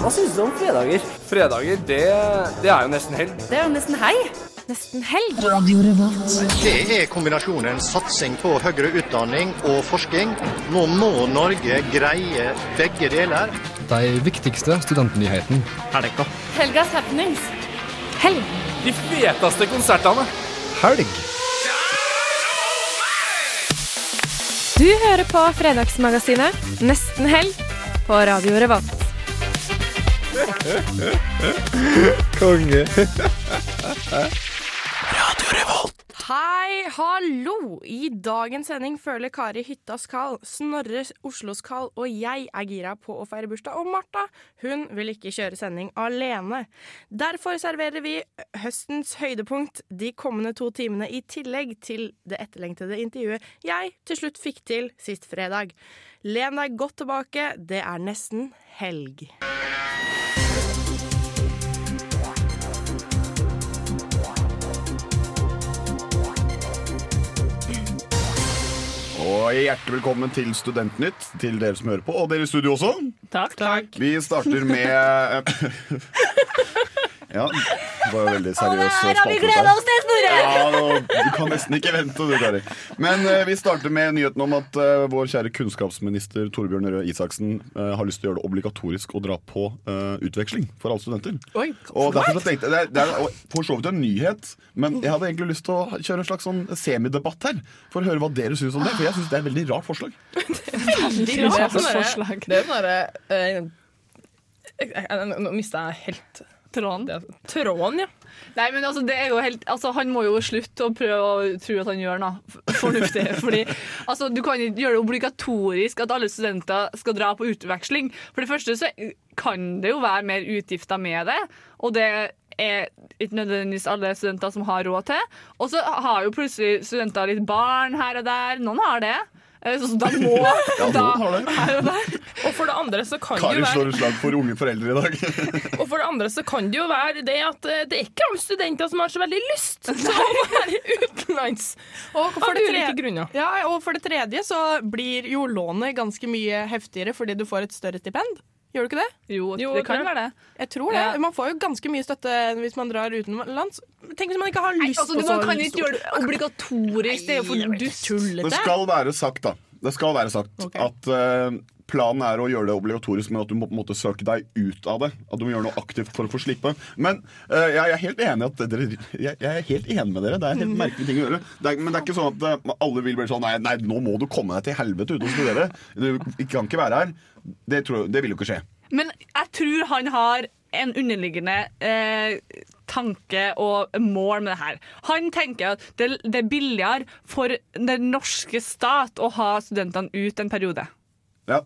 Hva syns du om fredager? Fredager, det, det er jo nesten helg. Det er jo nesten hei. Nesten helg. Det er kombinasjonen satsing på høyere utdanning og forskning. Nå må Norge greie begge deler. De viktigste studentnyhetene. Helgas happenings. Helg. De feteste konsertene. Helg! Du hører på Fredagsmagasinet Nesten helg på Radio Revolt. Konge. Hei, hallo! I dagens sending føler Kari Hyttas kall, Snorre Oslos kall, og jeg er gira på å feire bursdag. Og Martha, hun vil ikke kjøre sending alene. Derfor serverer vi høstens høydepunkt de kommende to timene, i tillegg til det etterlengtede intervjuet jeg til slutt fikk til sist fredag. Len deg godt tilbake, det er nesten helg. Og hjertelig velkommen til Studentnytt, til dere som hører på, og dere i studio også. Takk, takk. Vi starter med eh, Ja, det var jo veldig seriøs spalte. oss til, Snorre! Ja, nå- du kan nesten ikke vente, du, Kari. Men eh, vi starter med nyheten om at eh, vår kjære kunnskapsminister Torbjørn Røe Isaksen eh, har lyst til å gjøre det obligatorisk å dra på eh, utveksling for alle studenter. Oi, Og derfor så tenkte jeg, det er, det er og for så vidt en nyhet, men jeg hadde egentlig lyst til å kjøre en slags sånn semidebatt her. For å høre hva dere syns om det. For jeg syns det er et veldig rart forslag. veldig Det bra. er sånn der- det er sånn derre Nå mista jeg helt Tråden. det- tråden, ja. Nei, men altså, det er jo helt, altså, han må jo slutte å prøve å tro at han gjør noe f- fornuftig. fordi altså, Du kan ikke gjøre det obligatorisk at alle studenter skal dra på utveksling. For det første så kan det jo være mer utgifter med det, og det er ikke nødvendigvis alle studenter som har råd til. Og så har jo plutselig studenter litt barn her og der. Noen har det. Eh, Så så da må Ja, da, noen har det. her og der. Og for det andre så kan det Kari jo slår være, et slag for unge foreldre i dag. og for det, andre så kan det, jo være det at eh, det er ikke alle studenter som har så veldig lyst til å være utenlands. Og for Av det tredje ulike grunner. Ja, og for det tredje så blir jo lånet ganske mye heftigere fordi du får et større stipend. Gjør du ikke det? Jo, Jo, det kan det- være det. Jeg tror det. Ja. Man får jo ganske mye støtte hvis man drar utenlands. Tenk hvis man ikke har lyst Altså, du på så man kan ikke stort. gjøre det obligatorisk. Det er jo for dust. Det skal være sagt, da. Det skal være sagt at eh, planen er å gjøre det obligatorisk, men at du må på en måte søke deg ut av det. At du må gjøre noe aktivt for å få slippe. Men eh, jeg er helt enig at dere, jeg, jeg er helt enig med dere. Det er en helt merkelig ting å gjøre. Det er, men det er ikke sånn at eh, alle vil bli sånn nei, nei, nå må du komme deg til helvete ut og studere. Du kan ikke være her. Det, tror, jeg- det vil jo ikke skje. Men jeg tror han har en underliggende eh, tanke og mål med det her. Han tenker at det, det er billigere for den norske stat å ha studentene ut en periode. Ja.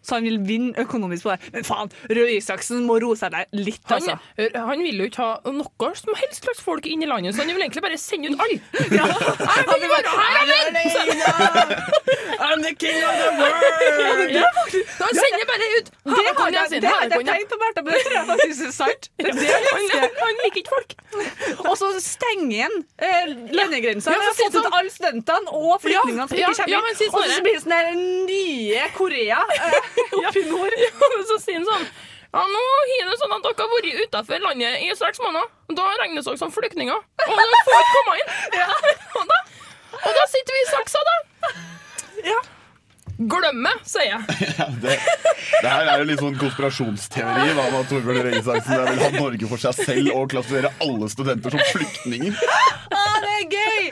Så han vil vinne økonomisk på det. Men faen, Røe Isaksen må roe seg der litt, Han, altså. hør, han vil jo ikke ha noe som helst slags folk inn i landet, så han vil egentlig bare sende ut alle. Ja. Jeg vil være her, jeg vil! I'm the king altså. of the world! Da sender jeg bare ut Det Her har kan jeg jeg, sende, det har her jeg kan jeg. tenkt på, Bertha, men det tror jeg faktisk er sant. Det er det jeg Han, liker. han liker ikke folk. Og så stenge igjen eh, landegrensa. Ja, Ja, for sånn sånn- at alle studentene og flyktningene som Ja, ikke ja, kommer men hit. si og Snorre. så blir det sånn der nye Korea. Eh, oppi nord. Ja, men så sier han sånn Ja, nå er det sånn at dere har vært utafor landet i seks måneder. og Da regnes dere som flyktninger. Og dere får ikke komme inn. Og, da, og da sitter vi i saksa, da. Ja. Glemme, sier jeg. Ja, det, det her er jo litt sånn konspirasjonsteori da, om at Torbjørn Røe Isaksen der vil ha Norge for seg selv og klassifisere alle studenter som flyktninger. ah, det er gøy!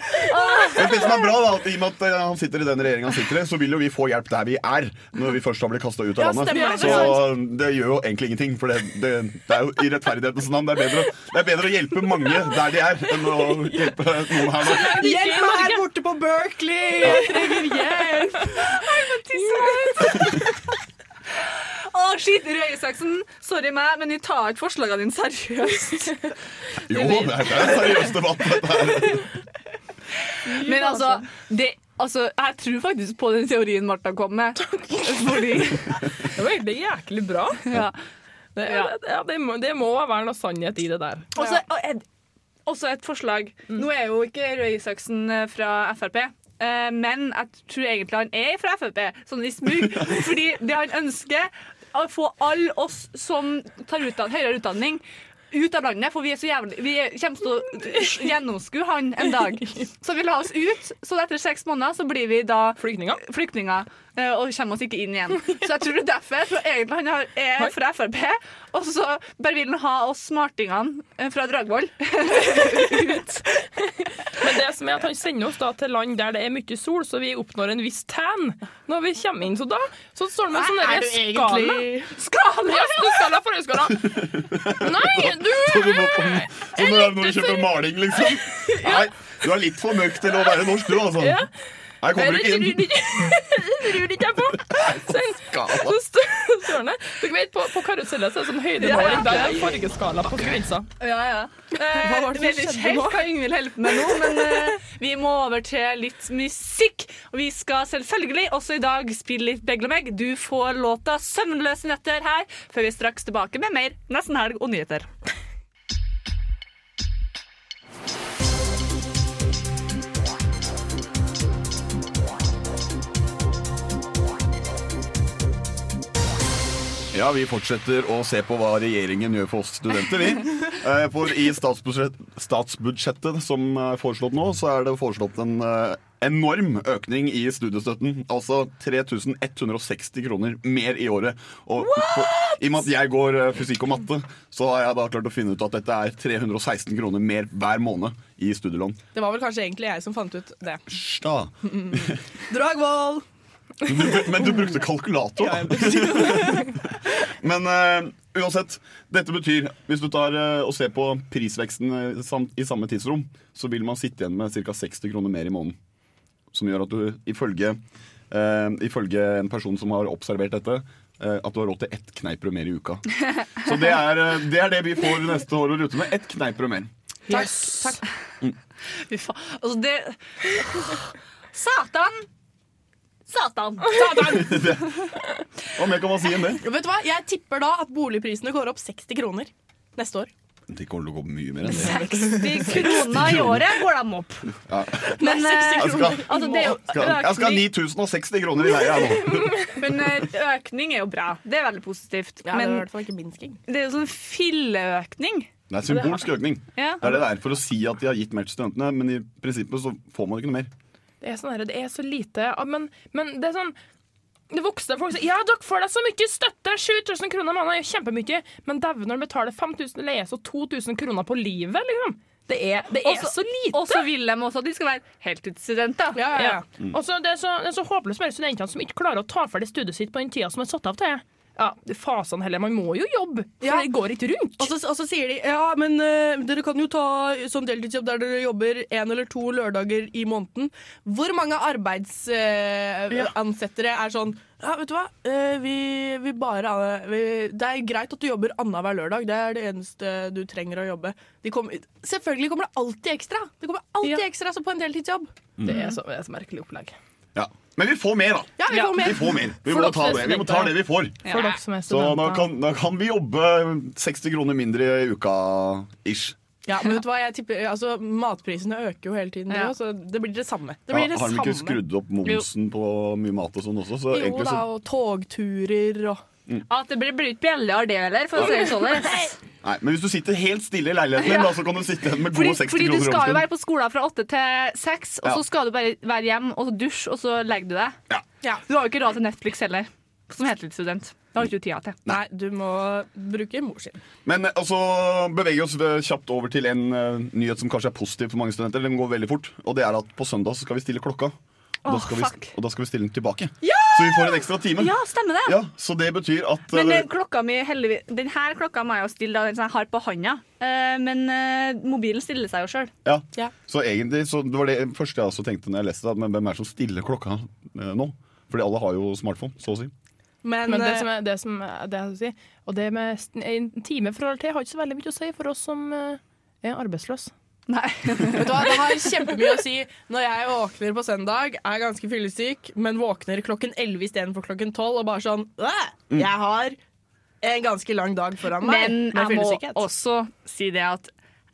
Men det som er bra da, at I og med at eh, han sitter i den regjeringen han sitter i, så vil jo vi få hjelp der vi er. Når vi først har blitt kasta ut av Ja, landet. stemmer det. så det gjør jo egentlig ingenting. For det, det, det er jo i rettferdighetens navn. Det er, bedre, det er bedre å hjelpe mange der de er, enn å hjelpe noen her nå. Hjelp meg her borte på Berkeley! Jeg trenger hjelp! Å, shit, Røe Isaksen. Sorry meg, men vi tar ikke forslagene dine seriøst. Jo, det er, det er en seriøs debatt, dette her. Men altså, det, altså, jeg tror faktisk på den teorien Martha kom med. Fordi Det var egentlig jæklig bra. ja. Det, Ja. det, ja, det, må, det må være noe sannhet i det der. Også, og et, også et forslag. Nå er jo ikke Røe Isaksen eh, fra Frp. eh, men jeg tror egentlig han er fra Frp, sånn i smug. Fordi det han ønsker, å få alle oss som tar utdan høyere utdanning, ut av landet, for vi er så jævlig Vi er- kommer til å gjennomskue han en dag. Så vi la oss ut, så etter seks måneder så blir vi da Flyktninger? flyktninger eh, og kommer oss ikke inn igjen. Så jeg tror det er derfor. Jeg tror egentlig han har- er fra Frp, og så bare vil han ha oss smartingene eh, fra Dragvoll. Men det som er at han sender oss da til land der det er mye sol, så vi oppnår en viss tan når vi kommer inn. Så da så står det med sånn derre skala. Skala? Ja, du skala forrige skala. Nei, du Så du må, så når, når du kjøper maling, liksom. Nei, du er litt for mørk til å være norsk, du, altså. Ja. Her Nei, kommer du det ikke lurer inn. ikke- lurer ikke jeg på. Sen, så står står han der. Dere vet, på, på karusellet så er det sånn høydemåling. Der er fargeskala på grensa. Ja, ja. Hva var det som vet ikke skjedde nå? helt Eh, hva Yngvild hjelper med nå, men eh, vi må over til litt musikk. Og vi skal selvfølgelig også i dag spille litt Beglemegg. Du får låta 'Søvnløse netter' her, før vi er straks tilbake med mer Nesten helg og nyheter. Ja, vi fortsetter å se på hva regjeringen gjør for oss studenter, vi. Eh, For i statsbudsjett, statsbudsjettet som er foreslått nå, så er det foreslått en eh, enorm økning i studiestøtten. Altså 3160 kroner mer i året. Og for, i og med at jeg går eh, fysikk og matte, så har jeg da klart å finne ut at dette er 316 kroner mer hver måned i studielån. Det var vel kanskje egentlig jeg som fant ut det. Hysj, da. Dragvoll! Men du- Men du brukte kalkulator, da. Men eh, uansett, dette betyr Hvis du tar eh, og ser på prisveksten eh, sam i samme tidsrom, så vil man sitte igjen med ca. 60 kroner mer i måneden. Som gjør at du ifølge, eh, ifølge en person som har observert dette, eh, at du har råd til ett kneippbrød mer i uka. Så det er, eh, det er det vi får neste år å rute med. Ett kneippbrød mer. Takk. takk. Fy faen. Altså, det Satan! Satan! Hva mer kan man si enn det? Vet du hva? Jeg tipper da at boligprisene går opp 60 kroner neste år. Det kommer til å gå mye mer enn det. 60 kroner i året går de opp. Men Nei, 60 eh, Jeg skal, altså, det er jo skal, jeg skal ha økning- 9060 kroner i leie her nå. men eh, økning er jo bra. Det er veldig positivt. Ja, det Men var i hvert fall ikke minsking. det er jo sånn filleøkning. Det er symbolsk økning. Ja. Det er det der for å si at de har gitt mer til studentene, men i prinsippet så får man ikke noe mer. Det er, sånn her, det er så lite ah, Men, men det er sånn det voksne folk sier ja, dere får da så mye støtte. 7000 kroner i måneden er jo kjempemye. Men dæven, når du betaler 5000 leie, så 2000 kroner på livet, liksom. Det er, det er Også- så lite. Og så vil de også at de skal være heltidsstudenter. Ja. Mm. Og så det, er så, det er så håpløst med de studentene som ikke klarer å ta ferdig studiet sitt på den tida som er satt av til det. Ja, Fasene heller. Man må jo jobbe, for Ja. det går ikke rundt. Og så, og så sier de ja, men eh, dere kan jo ta sånn deltidsjobb der dere jobber én eller to lørdager i måneden. Hvor mange Ja. arbeidsansettere er sånn ja, vet du hva, Eh, vi, vi bare eh, vi, Det er greit at du jobber annenhver lørdag. Det er det eneste du trenger å jobbe. De kom, selvfølgelig kommer det alltid ekstra. Det kommer alltid Ja. ekstra som på en deltidsjobb. Mm. Det er så, det er så merkelig opplegg. Ja. Men vi får mer, da. Ja, vi får Vi mer. får mer. Vi For må dere ta som er det vi, må ta studenter. det vi får. For dere som er Så da studenter. kan, da kan vi jobbe 60 kroner mindre i uka ish. Ja, men vet du hva, jeg tipper, altså, matprisene øker jo hele tiden, de Ja. også, så det blir det samme. Det Ja, blir det har de ikke samme. skrudd opp momsen på mye mat og sånn også? Så Jo egentlig da, så og togturer og At det blir blir ikke bjeller det heller, for å si det sånn. Nei, Men hvis du sitter helt stille i leiligheten din, da, så kan du sitte igjen med Fordi, gode 60 fordi du kroner i skal jo overskudd. være på skolen fra åtte til seks, og Ja. så skal du bare være hjem og dusje, og så legger du deg. Ja. Ja. Du har jo ikke råd til Netflix heller, som heltidsstudent. Det har du ikke tida til. Nei, du må bruke mor sin. Men eh, altså, beveger vi oss eh, kjapt over til en eh, nyhet som kanskje er positiv for mange studenter. Den går veldig fort, og det er at på søndag så skal vi stille klokka. Og, da, Åh, skal vi, fuck. og da skal vi stille den tilbake. Så vi får en ekstra time. Ja, stemmer det. Ja, så det betyr at Men eh, eh, klokka mi heldigvis Den her klokka må jeg jo stille, da, den som jeg har på handa. Eh, men eh, mobilen stiller seg jo sjøl. ja. Ja. Så egentlig, så det var det første jeg også tenkte når jeg leste det, men hvem er det som stiller klokka eh, nå? Fordi alle har jo smartphone, så å si. Men, Men det eh, som er det, som er, det jeg skulle si, og det med st- en time fra eller til har ikke så veldig mye å si for oss som eh, er arbeidsløse. Nei. vet du hva, det har kjempemye å si når jeg våkner på søndag, er ganske fyllesyk, men våkner klokken 11 istedenfor klokken 12 og bare sånn «Åh, Jeg har en ganske lang dag foran meg Mm. Men med jeg må fyllesykhet. også si det at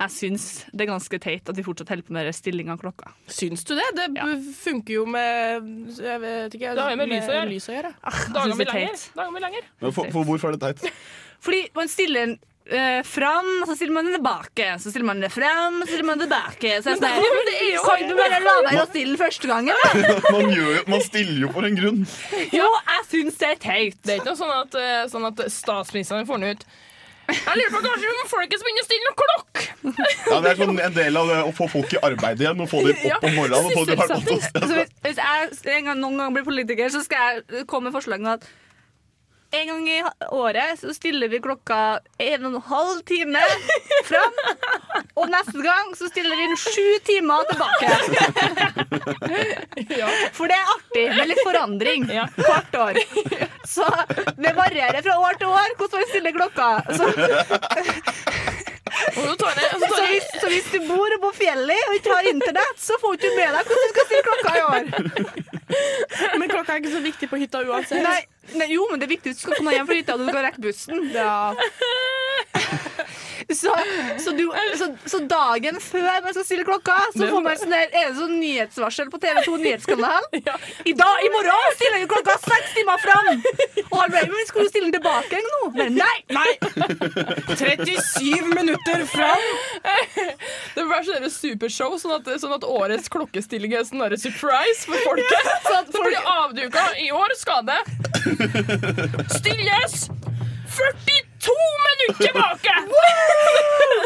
Jeg syns det er ganske teit at vi fortsatt holder på med den stillinga av klokka. Syns du det? Det b- Ja. funker jo med Jeg vet ikke. Det har jo med lys å gjøre. lys å gjøre. Dagene synes det blir er lenger. teit. Dagene blir lenger. Men for, for hvorfor er det teit? Fordi man stiller den eh, fram, så stiller man den tilbake, så stiller man den fram, så stiller man den tilbake. Så jeg sånn her, Kan du bare la være å stille den første gangen? da? Man, gjør, jo- man stiller jo for en grunn. Jo, jeg syns det er teit. Det er ikke noe sånn at, eh, sånn at statsministeren får den ut. Jeg lurer på kanskje om folket skal begynne å stille noen klokk! Ja, det er sånn en del av det å få folk i arbeid igjen og få dem opp om morgenen. Og få dem opp på Så Altså, hvis, hvis jeg en gang, noen gang blir politiker, så skal jeg komme med forslag om at en gang i året så stiller vi klokka en og en halv time fram. Og neste gang så stiller vi inn sju timer tilbake. For det er artig med litt forandring hvert år. Så det varierer fra år til år hvordan man stiller klokka. Så, Og så tar jeg, og så så, tar jeg, hvis, så hvis du bor på fjellet og ikke har internett, så får du ikke med deg hvordan du skal stille klokka i år. Men klokka er ikke så viktig på hytta uansett. Nei, nei, jo, men det er viktig at du skal komme deg hjem fra hytta og du skal rekke bussen. Så, så, du, så, så dagen før man skal stille klokka, så får man sånn der, er det sånn nyhetsvarsel på TV 2 nyhetskanal. I dag, i morgen stiller vi klokka seks timer fram! Og han bare, men skal du stille den tilbake igjen nå? Men nei! Nei! 37 minutter fram! det blir sånn et supershow, sånn at, sånn at årets klokkestilling er sånn der surprise for folket. Så at folk blir avduka. I år skal det stilles 42 minutter tilbake!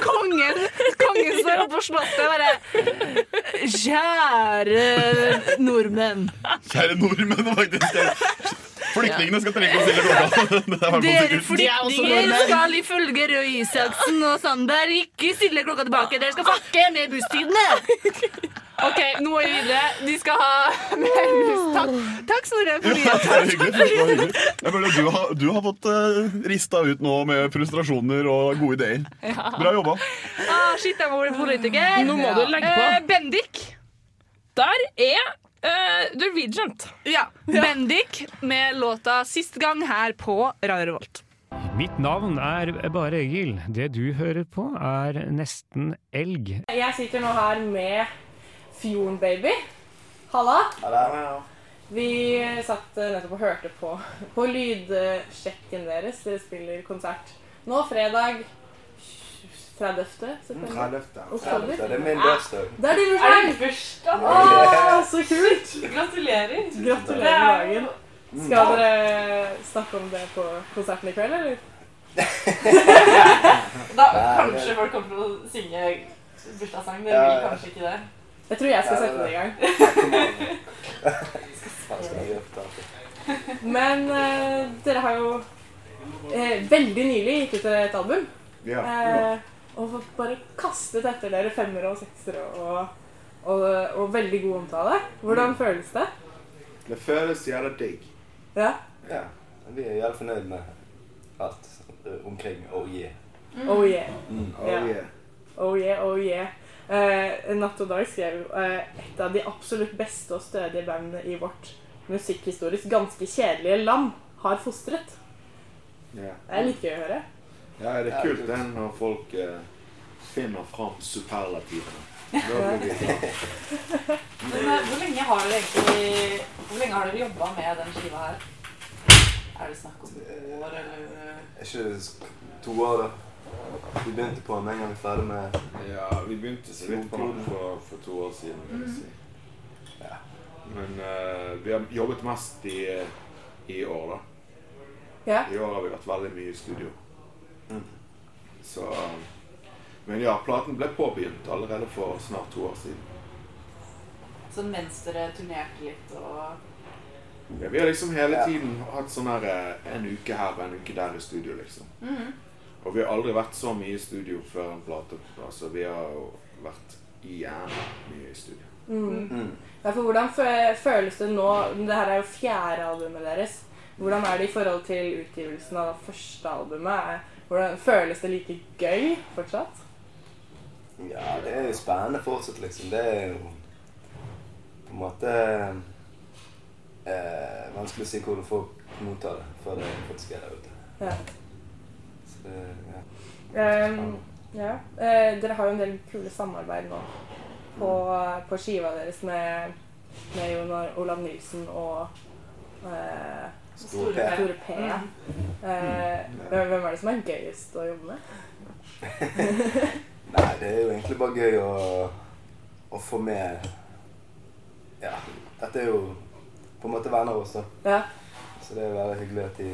Kongen, kongen står oppe på slottet og bare Kjære nordmenn. Kjære nordmenn, faktisk. Flyktningene skal trenge å stille klokka. Det er i hvert fall Dere sikkert. flyktninger skal ifølge Røe Isaksen og Sander ikke stille klokka tilbake. Dere skal fakke med busstidene. OK, nå er vi videre. De skal ha mer buss. Takk, takk Snorre. for Ja, det. det var hyggelig. Det var hyggelig. Jeg føler du, har, du har fått eh, rista ut nå med frustrasjoner og gode ideer. Bra jobba. Ah, shit, jeg må bli politiker. Nå må du legge på. Eh, Bendik. Der er uh, Norwegiant. Ja. Bendik med låta 'Sist gang' her på Radio Revolt. Mitt navn er Bare Egil. Det du hører på, er nesten elg. Jeg sitter nå her med Fjordenbaby. Halla. Vi satt eh, nettopp og hørte på, på lydsjekken deres. Dere spiller konsert nå fredag 30. september. Oktober. Det er min bursdag. Det er din bursdag! Ja. Å, så kult! Gratulerer. Gratulerer med dagen. Skal dere snakke om det på konserten i kveld, eller? Kanskje folk kommer til å synge bursdagssang. Dere vil Ja. kanskje ikke det? Jeg tror jeg skal Ja, det er sette den i gang. Kom an. Hva skal jeg gjøre da? Men eh, dere har jo eh, veldig nylig gitt ut et album. Eh, og fått bare kastet etter dere femmere og seksere og, og, og veldig god omtale. Hvordan føles det? Mm. Det føles jævla digg. Ja. Ja. Vi er jævla fornøyd med alt eh, omkring oh yeah. Oh yeah. Oh Ja. Oh yeah, oh yeah. Eh, Natt og Dag skrev eh, et av de absolutt beste og stødige bandene i vårt musikkhistorisk ganske kjedelige land har fostret. Ja. Det er litt gøy å høre. ja, det Ja, er kult kult. det når folk eh, finner fram superlativene. Da blir vi glad. Hvor lenge har dere egentlig Hvor lenge har dere jobba med den skiva her? Er det snakk om år, eller Er ikke det sk- to år, da? Vi begynte på med en gang vi er ferdig med Ja, vi begynte så vidt på den for, for to år siden, vil Mm. jeg si. Ja. Men eh, vi har jobbet mest i, i år, da. Ja. I år har vi vært veldig mye i studio. Så Men ja, platen ble påbegynt allerede for snart to år siden. sånn mens dere turnerte litt og Ja, vi har liksom hele Ja. tiden hatt sånn her eh, en uke her og en uke der i studio, liksom. Og vi har aldri vært så mye i studio før en plate. Altså, vi har jo vært jævlig mye i studio. Ja, for hvordan fø- føles det nå Det her er jo fjerde albumet deres. Hvordan er det i forhold til utgivelsen av det første albumet? Er- Hvordan, føles det like gøy fortsatt? Ja, det er jo spennende fortsatt, liksom. Det er jo på en måte eh, vanskelig å si hvordan folk mottar det før det faktisk er der ute. Ja. Så det, ja. Ehm, Ja. Eh, dere har jo en del kule samarbeid nå på, på skiva deres med, med Jon Olav Nilsen og eh, Store P. Store P. ja. Eh, hvem hvem er det som er gøyest å jobbe med? Nei, det er jo egentlig bare gøy å, å få med Ja, dette er jo på en måte venner også. Ja. Så det er jo veldig hyggelig at de,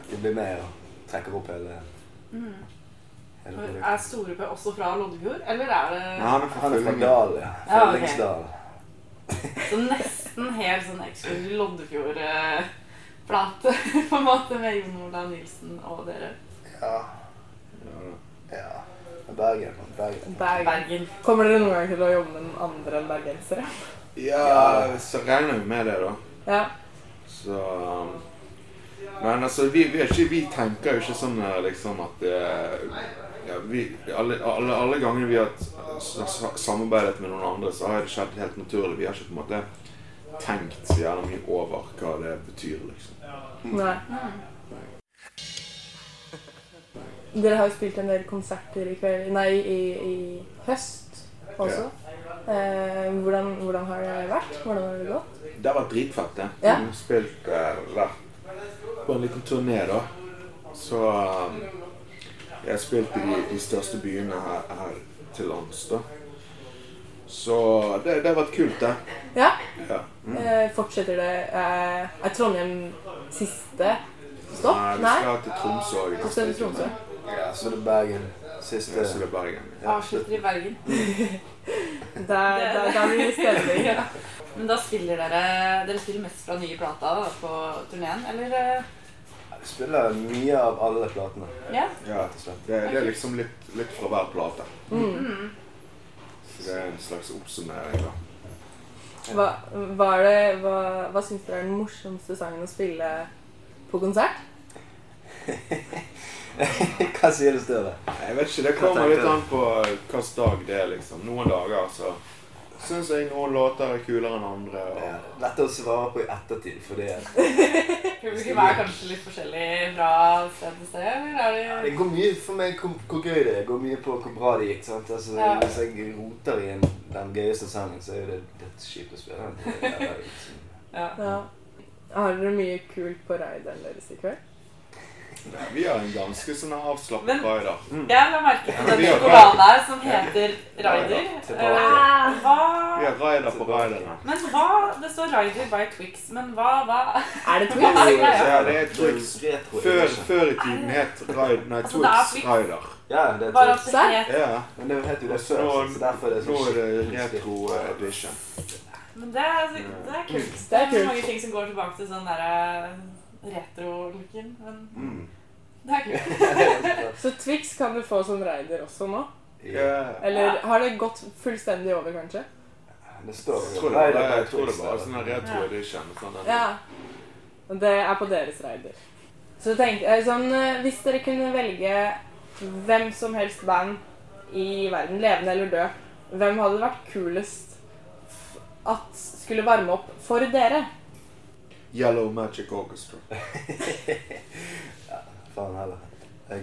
at de blir med og trekker opp hele, Mm. hele produktet. Er Store P også fra Loddefjord, eller er det Nei, han er fra Følling. Dal, ja. Ja, ok. Føllingsdal. Så nesten helt sånn eksklusiv Loddefjord-plate, på en måte, med Jon Olav Nilsen og dere. Ja. Ja. Bergen. Bergen. Bergen. Kommer dere noen gang til å jobbe med noen andre enn bergensere? Ja, så regner vi med det, da. Ja. Så um, Men altså, vi, vi, er ikke, vi tenker jo ikke sånn eh, liksom at det ja, vi, alle, alle, alle ganger vi har s- s- samarbeidet med noen andre, så har det skjedd helt naturlig. Vi har ikke på en måte tenkt så jævla mye over hva det betyr, liksom. Nei. Dere har jo spilt en del konserter i kveld Nei, i, i høst også. Eh, hvordan, hvordan har det vært? Hvordan har det gått? Det var dritfett, det. Ja. Vi spilte eh, vært på en liten turné, da. Så um, jeg spilte i de største byene her, her til lands, da. Så det, det har vært kult, det. Ja. Ja. Mm. Eh, fortsetter det eh, Er Trondheim siste stopp? Nei, vi Nei? skal til Tromsø òg. Og så er det Tromsø. Ja, så det er Bergen. Siste. Ja, så det er Bergen. Avslutter i Bergen. Der, der, der blir Eh, det stemning. Ja. Men da spiller dere Dere spiller mest fra nye plata da, på turneen, eller? eh? Vi spiller mye av alle platene. Ja. Ja, det, det er liksom litt, litt fra hver plate. Mm. Så det er en slags oppsummering, da. Hva, hva, er det, hva, hva syns dere er den morsomste sangen å spille på konsert? Hva sier du, Støre? Jeg vet ikke, det kommer litt an på hvilken dag det er, liksom. Noen dager så syns jeg noen låter er kulere enn andre. Og... Lett å svare på i ettertid, fordi Publikum er kanskje litt forskjellig fra sted til sted, eller Ja, er Det det går mye for meg hvor, hvor gøy det er. Det går mye på hvor bra det gikk. sant? Altså, Ja. Hvis jeg roter i en, den gøyeste sangen, så er jo det dødsskipt å spille den. Det er jo liksom- Ja. Har dere mye kult på rideren deres i kveld? Nei, vi har en ganske sånn avslappet rider. Jeg la merke til Ja, men den vi har- sjokoladen her som heter Ja. Rider. Tilbake. Eh, Hva Vi har rider på riderne. Men hva Det står Rider by Twix, men hva, hva Er det Twix? Ja, det er Twix. Før, før i tiden het Ride, nei, Altså, det er Twix Twix. Rider. Ja, det Bare at det het Ja. Men det het jo det Og før, nå- så derfor er det sånn Nå er det retro eh, edition. Men det er, det er kult. Mm. Det Det er er kult. mange ting som går tilbake til sånn derre retro-looken, men Mm. det er kult. Så Twix kan du få som rider også nå? Ja. Eller har det gått fullstendig over, kanskje? Det står Jeg tror det Rider bare- by jeg tror det Twix, bare da. sånn der retro edition. Sånn der. Ja. Og det er på deres rider. Så tenkte jeg sånn eh, Hvis dere kunne velge hvem som helst band i verden, levende eller død, hvem hadde vært kulest f- at skulle varme opp for dere? Yellow Magic Orchestra. Faen heller. Jeg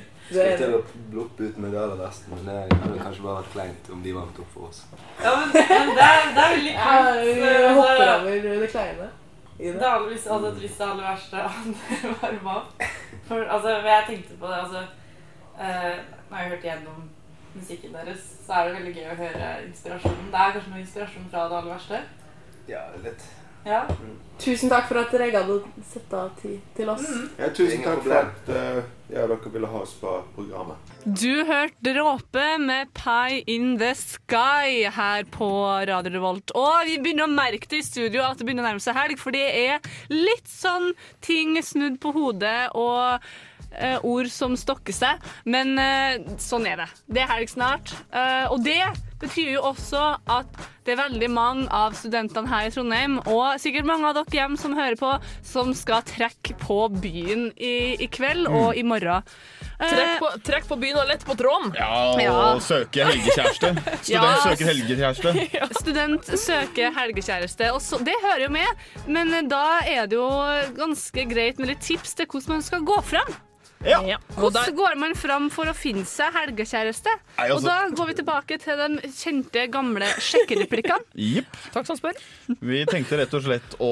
eh, Du er skulle til å bloppe ut med det aller verste, men det hadde kanskje bare vært kleint om de varmet opp for oss. Ja, men, men det, er, det er veldig kult. Jeg, jeg hopper over det kleine. i Det aller, hvis, altså, hvis det aller verste hadde varma opp. For altså, men jeg tenkte på det altså, eh, Når jeg har hørt gjennom musikken deres, så er det veldig gøy å høre inspirasjonen. Det er kanskje noe inspirasjon fra det aller verste? Ja, litt. Ja. Tusen takk for at dere gadd å sette av tid til oss. Ja, tusen takk for at eh, ja, dere ville ha oss på programmet. Du hørte Dråpe med Pie in the Sky her på Radio Revolt. Og vi begynner å merke det i studio at det begynner å nærme seg helg, for det er litt sånn ting snudd på hodet og eh, ord som stokker seg. Men eh, sånn er det. Det er helg snart. Eh, og det betyr jo også at det er veldig mange av studentene her i Trondheim, og sikkert mange av dere hjem som hører på, som skal trekke på byen i, i kveld og i morgen. Trekk på, trekk på byen og lett på tråden. Ja. og søke helgekjæreste. Student Ja. søker helgekjæreste. Student søker helgekjæreste. Og så, det hører jo eh, med, men da er det jo ganske greit med litt tips til hvordan man skal gå fram. Ja. Hvordan går man fram for å finne seg helgekjæreste? Nei, altså- Og da går vi tilbake til de kjente, gamle sjekkereplikkene. Jepp. Takk som spør. Vi tenkte rett og slett å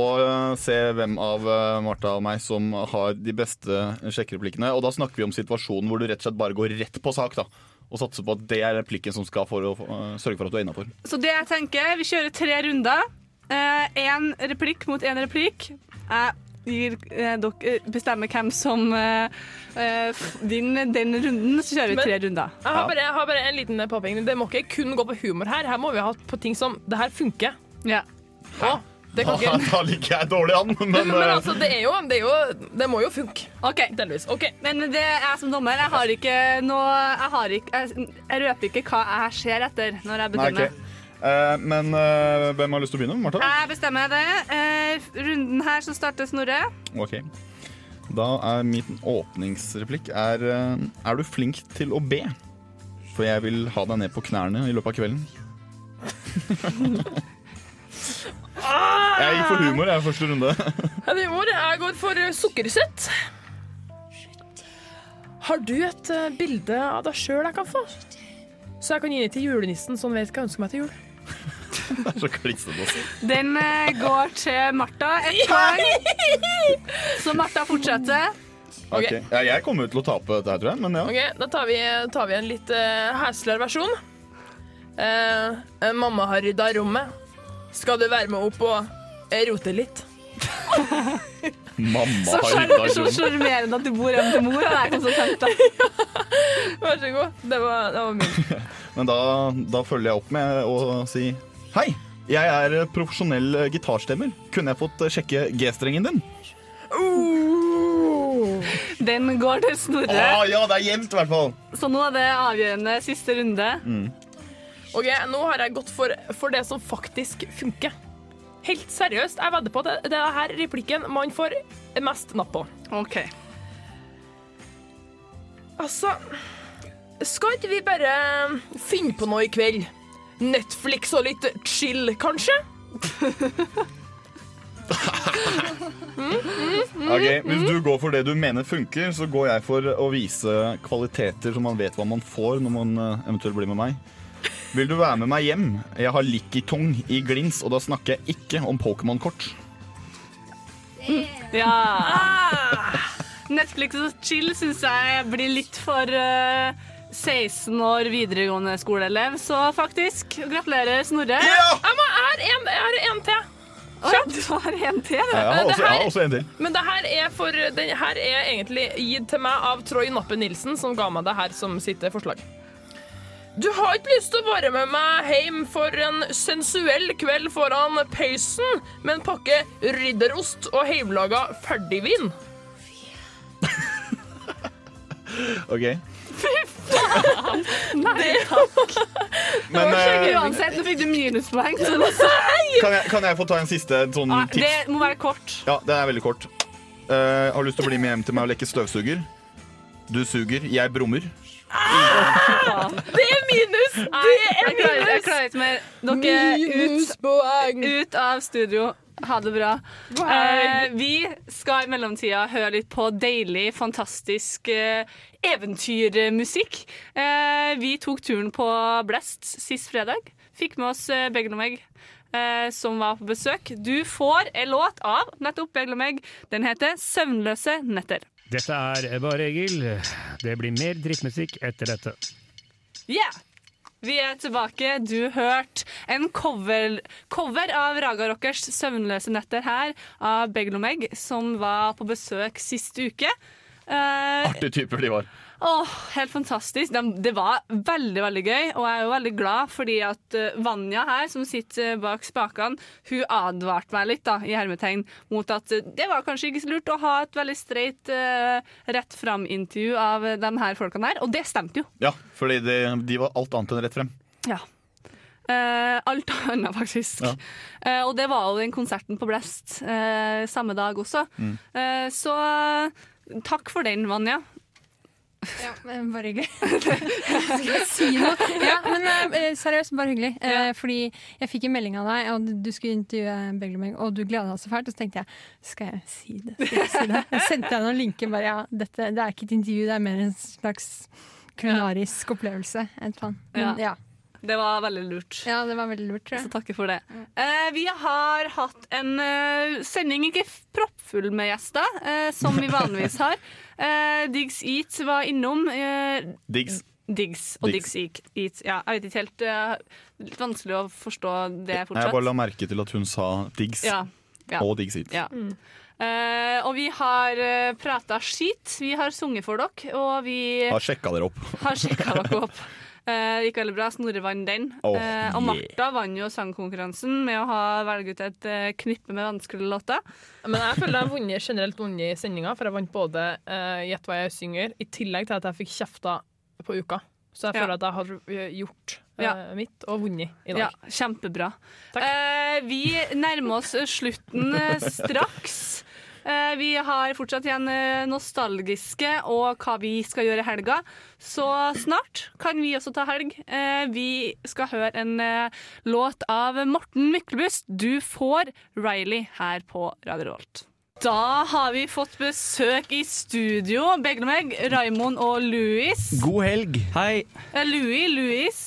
eh, se hvem av eh, Martha og meg som har de beste sjekkereplikkene. Og da snakker vi om situasjonen hvor du rett og slett bare går rett på sak. da Og satser på at det er replikken som skal for å eh, sørge for at du er innafor. Så det jeg tenker, vi kjører tre runder. Én replikk mot én replikk. Jeg gir eh, dere bestemmer hvem som eh, eh, f- vinner den runden, så kjører vi Men- tre runder. Jeg har bare, jeg har bare en liten påpekning. Det må ikke kun gå på humor her. Her må vi ha på ting som Det her funker. Ja. Å, det kan Da, ikke da ligger jeg dårlig an, men, men, eh, altså, det er jo Det, er jo, det må jo funke. Ok, Men det er jeg som dommer. Jeg har ikke noe Jeg, har ikke, jeg, jeg røper ikke hva jeg ser etter når jeg Nei, bedømmer. ok. Eh, men eh, hvem har lyst til å begynne? Martha? Jeg bestemmer det. Eh, runden her så starter Snorre. Ok. Da er min åpningsreplikk er, eh, er du flink til å be? For jeg vil ha deg ned på knærne i løpet av kvelden. Jeg gikk for humor jeg, i første runde. En humor. Jeg går for eh, sukkersøtt. Har du et eh, bilde av deg sjøl jeg kan få? Så jeg kan gi det til julenissen, så han vet hva jeg ønsker meg til jul. Det er så klissete. altså. Den eh, går til Martha et poeng. Så Martha fortsetter. Ok, Ja, jeg kommer jo til å tape dette her, tror jeg. Men ja. Ok, Da tar vi, tar vi en litt uh, hesligere versjon. Eh, eh, mamma har rydda rommet. Skal du være med opp og eh, rote litt? Mamma Så har sjarm- rydda så rommet. sjarmerende at du bor hjemme til mor. Og det er konsekvent, da. Vær så god. Det var, det var min. Men da, da følger jeg opp med å si hei. Jeg er profesjonell eh, gitarstemmer. Kunne jeg fått eh, sjekke G-strengen din? Den går til Snorre. Ah, ja, det er jevnt i hvert fall. Så nå er det avgjørende siste runde. Mm. Ok, Nå har jeg gått for, for det som faktisk funker. Helt seriøst, jeg vedder på at det, det er her replikken man får mest napp på. Ok. Altså Skal ikke vi bare um, finne på noe i kveld? Netflix og litt chill, kanskje? Mhm. Ok, Hvis du går for det du mener funker, så går jeg for å vise kvaliteter så man vet hva man får når man eh, eventuelt blir med meg. Vil du være med meg hjem? Jeg har likitong i glins, og da snakker jeg ikke om Pokémon-kort. Ja. Ah! Netflix og chill syns jeg blir litt for eh, 16 år videregående skoleelev, så faktisk. Gratulerer, Snorre. Jeg, må, jeg har en- jeg har en til. Å ja, du har en til. Ja, Jeg har Det også, jeg her- har også en til. Men det her er, for, den her er egentlig gitt til meg av Troy Nappe Nilsen, som ga meg det her som sitt forslag. Du har ikke lyst til å være med meg hjem for en sensuell kveld foran peisen med en pakke ridderost og hjemmelaga ferdigvin. Ok, Fy faen! Nei takk. Men eh, Uansett, nå fikk du minuspoeng. Så kan, jeg, kan jeg få ta en siste en sånn Nei, det tips? må være kort. Ja, den er veldig kort. Eh, har du lyst til å bli med hjem til meg og leke støvsuger? Du suger, jeg brummer. Det er minus! Nei, Det er jeg klarer- Jeg minus! klarer ikke mer. Dere ut, ut av studio. Ha det bra. Eh, vi skal i mellomtida høre litt på deilig, fantastisk eh, eventyrmusikk. Eh, vi tok turen på Blest sist fredag. Fikk med oss eh, Begge og meg. eh, Som var på besøk. Du får en låt av nettopp Begge og meg. Den heter 'Søvnløse netter'. Dette er Bare Egil. Det blir mer drittmusikk etter dette. Yeah! Vi er tilbake. Du hørte en cover, cover av Raga Rockers 'Søvnløse netter' her av Beglomeg, som var på besøk sist uke. Eh, Artige typer de var. Åh, helt fantastisk. Dem- det var veldig, veldig gøy, og jeg er jo veldig glad fordi at eh, Vanja her, som sitter eh, bak spakene, hun advarte meg litt, da, i hermetegn, mot at eh, det var kanskje ikke så lurt å ha et veldig streit eh, rett fram-intervju av eh, de her folkene her, og det stemte jo. Ja, fordi de, de var alt annet enn rett frem. Ja. Eh, alt annet, faktisk. Ja. Eh, og det var jo den konserten på Blest eh, samme dag også. Mm. Eh, så takk for den, Vanja. Ja, men bare hyggelig. Skal jeg si noe? Ja, men eh, seriøst, bare hyggelig. Eh, Fordi jeg fikk en melding av deg, og du skulle intervjue Begelmeg, og du gleda deg så fælt. Og så tenkte jeg, skal jeg si det? Skal jeg si det? Jeg sendte deg noen linker. bare, ja, dette, Det er ikke et intervju, det er mer en slags kulinarisk opplevelse. Et eller annet. Men, Ja. ja. Det var veldig lurt. Ja, det var veldig lurt, tror jeg. Mm. Så takker for det. Eh, vi har hatt en eh, sending ikke f- proppfull med gjester, eh, som vi vanligvis har. Eh, Diggs Eat var innom. eh, Diggs. Diggs og Diggs. Diggs Eat. Eat. Ja, jeg vet ikke helt. eh, litt vanskelig å forstå det Jeg bare fortsatt. la merke til at hun sa diggs Ja, ja. og diggs it. Ja. Eh, og vi har uh, prata skit. Vi har sunget for dere, og vi Har sjekka dere opp. har sjekka dere opp. Eh, Det gikk veldig bra. Snorre vant den. Åh, Eh, yeah. og Martha vant jo sangkonkurransen med å ha velge ut et eh, knippe med vanskelige låter. Men jeg føler jeg har vunnet, generelt vunnet i sendinga, for jeg vant både eh, Gjett hva jeg synger, i tillegg til at jeg fikk kjefta på uka. Så jeg Ja. føler at jeg har eh, gjort eh, Ja. mitt og vunnet i Ja, dag. kjempebra. Eh, vi nærmer oss slutten eh, straks. Eh, vi har fortsatt igjen eh, nostalgiske og hva vi skal gjøre i helga. Så snart kan vi også ta helg. Eh, vi skal høre en eh, låt av Morten Myklebust. Du får Riley her på Radio Rolt. Da har vi fått besøk i studio. Begge meg, Raimond og Louis. God helg. Hei. Eh, Louis, Louis.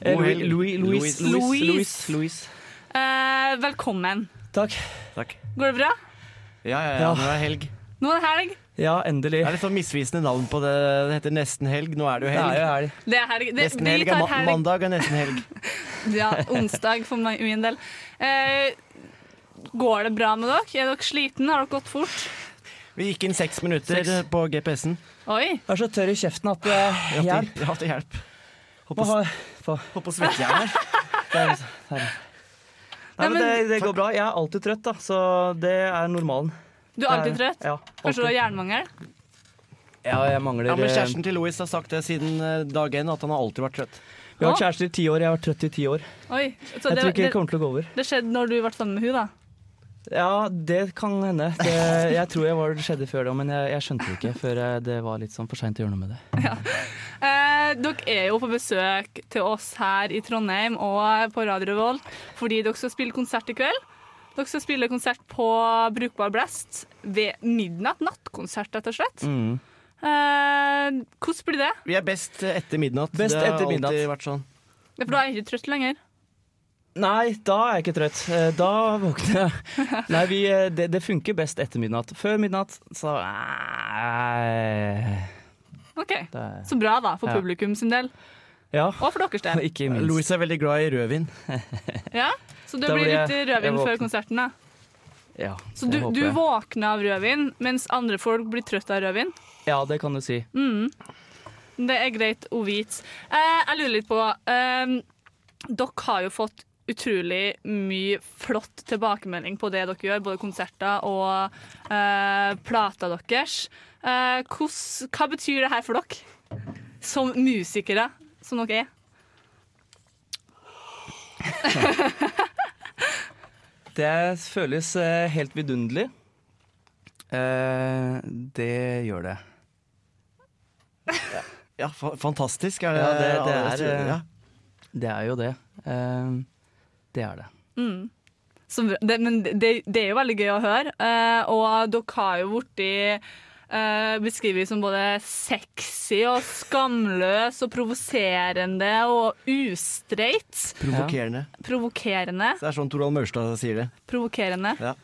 Eh, God Louis- helg. Louis- Louis- Louis. Louis. Louis. Eh, velkommen. Takk. Takk. Går det bra? Ja, ja, ja, Ja. nå er det helg. Nå er det helg. Ja, endelig. Det er litt sånn misvisende navn på det. Det heter nesten helg. Nå er det jo helg. Det er jo Det er helg. Det, Nesten vi helg tar er ma mandag er nesten helg. Ja, onsdag for meg, min del. Eh, går det bra med dere? Er dere sliten? Har dere gått fort? Vi gikk inn seks minutter Seks. på GPS-en. Oi. Jeg er så tørr i kjeften at eh, Jeg hjelp. har til hjelp. Må ha- få- Hopp og svette jeg her. Det er, det er. Nei, men det, Nei, men- det går bra. Jeg er alltid trøtt, da, så det er normalen. Du er alltid Det trøtt? Ja, Kanskje du har alltid. jernmangel? Ja, jeg mangler Ja, men eh, kjæresten til Louis har sagt det siden eh, dag én, at han har alltid vært trøtt. Vi har vært kjærester i ti år. Jeg har vært trøtt i ti år. Oi. så jeg tror ikke det det, kommer til å gå over. det skjedde når du ble sammen med hun da? Ja, det kan hende. Det, jeg tror jeg var det skjedde før det, men jeg, jeg skjønte det ikke før eh, det var litt sånn for seint å gjøre noe med det. Eh, dere er jo på besøk til oss her i Trondheim og på Radio Revolt fordi dere skal spille konsert i kveld. Dere skal spille konsert på Brukbar Blast ved midnatt. Nattkonsert, rett og slett. Mm. Eh, hvordan blir det? Vi er best etter midnatt. Best det har etter midnatt. alltid vært sånn. Ja, For da er jeg ikke trøtt lenger. Nei, da er jeg ikke trøtt. Eh, Da våkner jeg. Nei, vi, eh, det, det funker best etter midnatt. Før midnatt, så eh. Nei. OK. Det er- Så bra, da, for Ja. publikum sin del. Ja. Og for deres del. Louis er veldig glad i rødvin. Ja? Så det Da blir blir litt jeg- jeg rødvin våken. før konserten, da. Ja, Så det du, håper du jeg. våkner av rødvin, mens andre folk blir trøtt av rødvin? Ja, det kan du si. Mm. Det er greit å vite. Eh, jeg lurer litt på eh, Dere har jo fått utrolig mye flott tilbakemelding på det dere gjør, både konserter og eh, plata deres. Eh, hvordan- hva betyr det her for dere, som musikere som dere er? Det føles eh, helt vidunderlig. Eh, det gjør det. Ja, fa fantastisk. Er det, Ja, det, det, alle er, tror, ja. eh, det er jo det. Eh, Det er det. Mm. Så, bra. det, men det, det er jo veldig gøy å høre. eh, og dere har jo blitt uh, beskrevet som både sexy og skamløs og provoserende og ustreit. Provokerende. Provokerende. Det er sånn Torvald Maurstad sier det. Provokerende. Ja.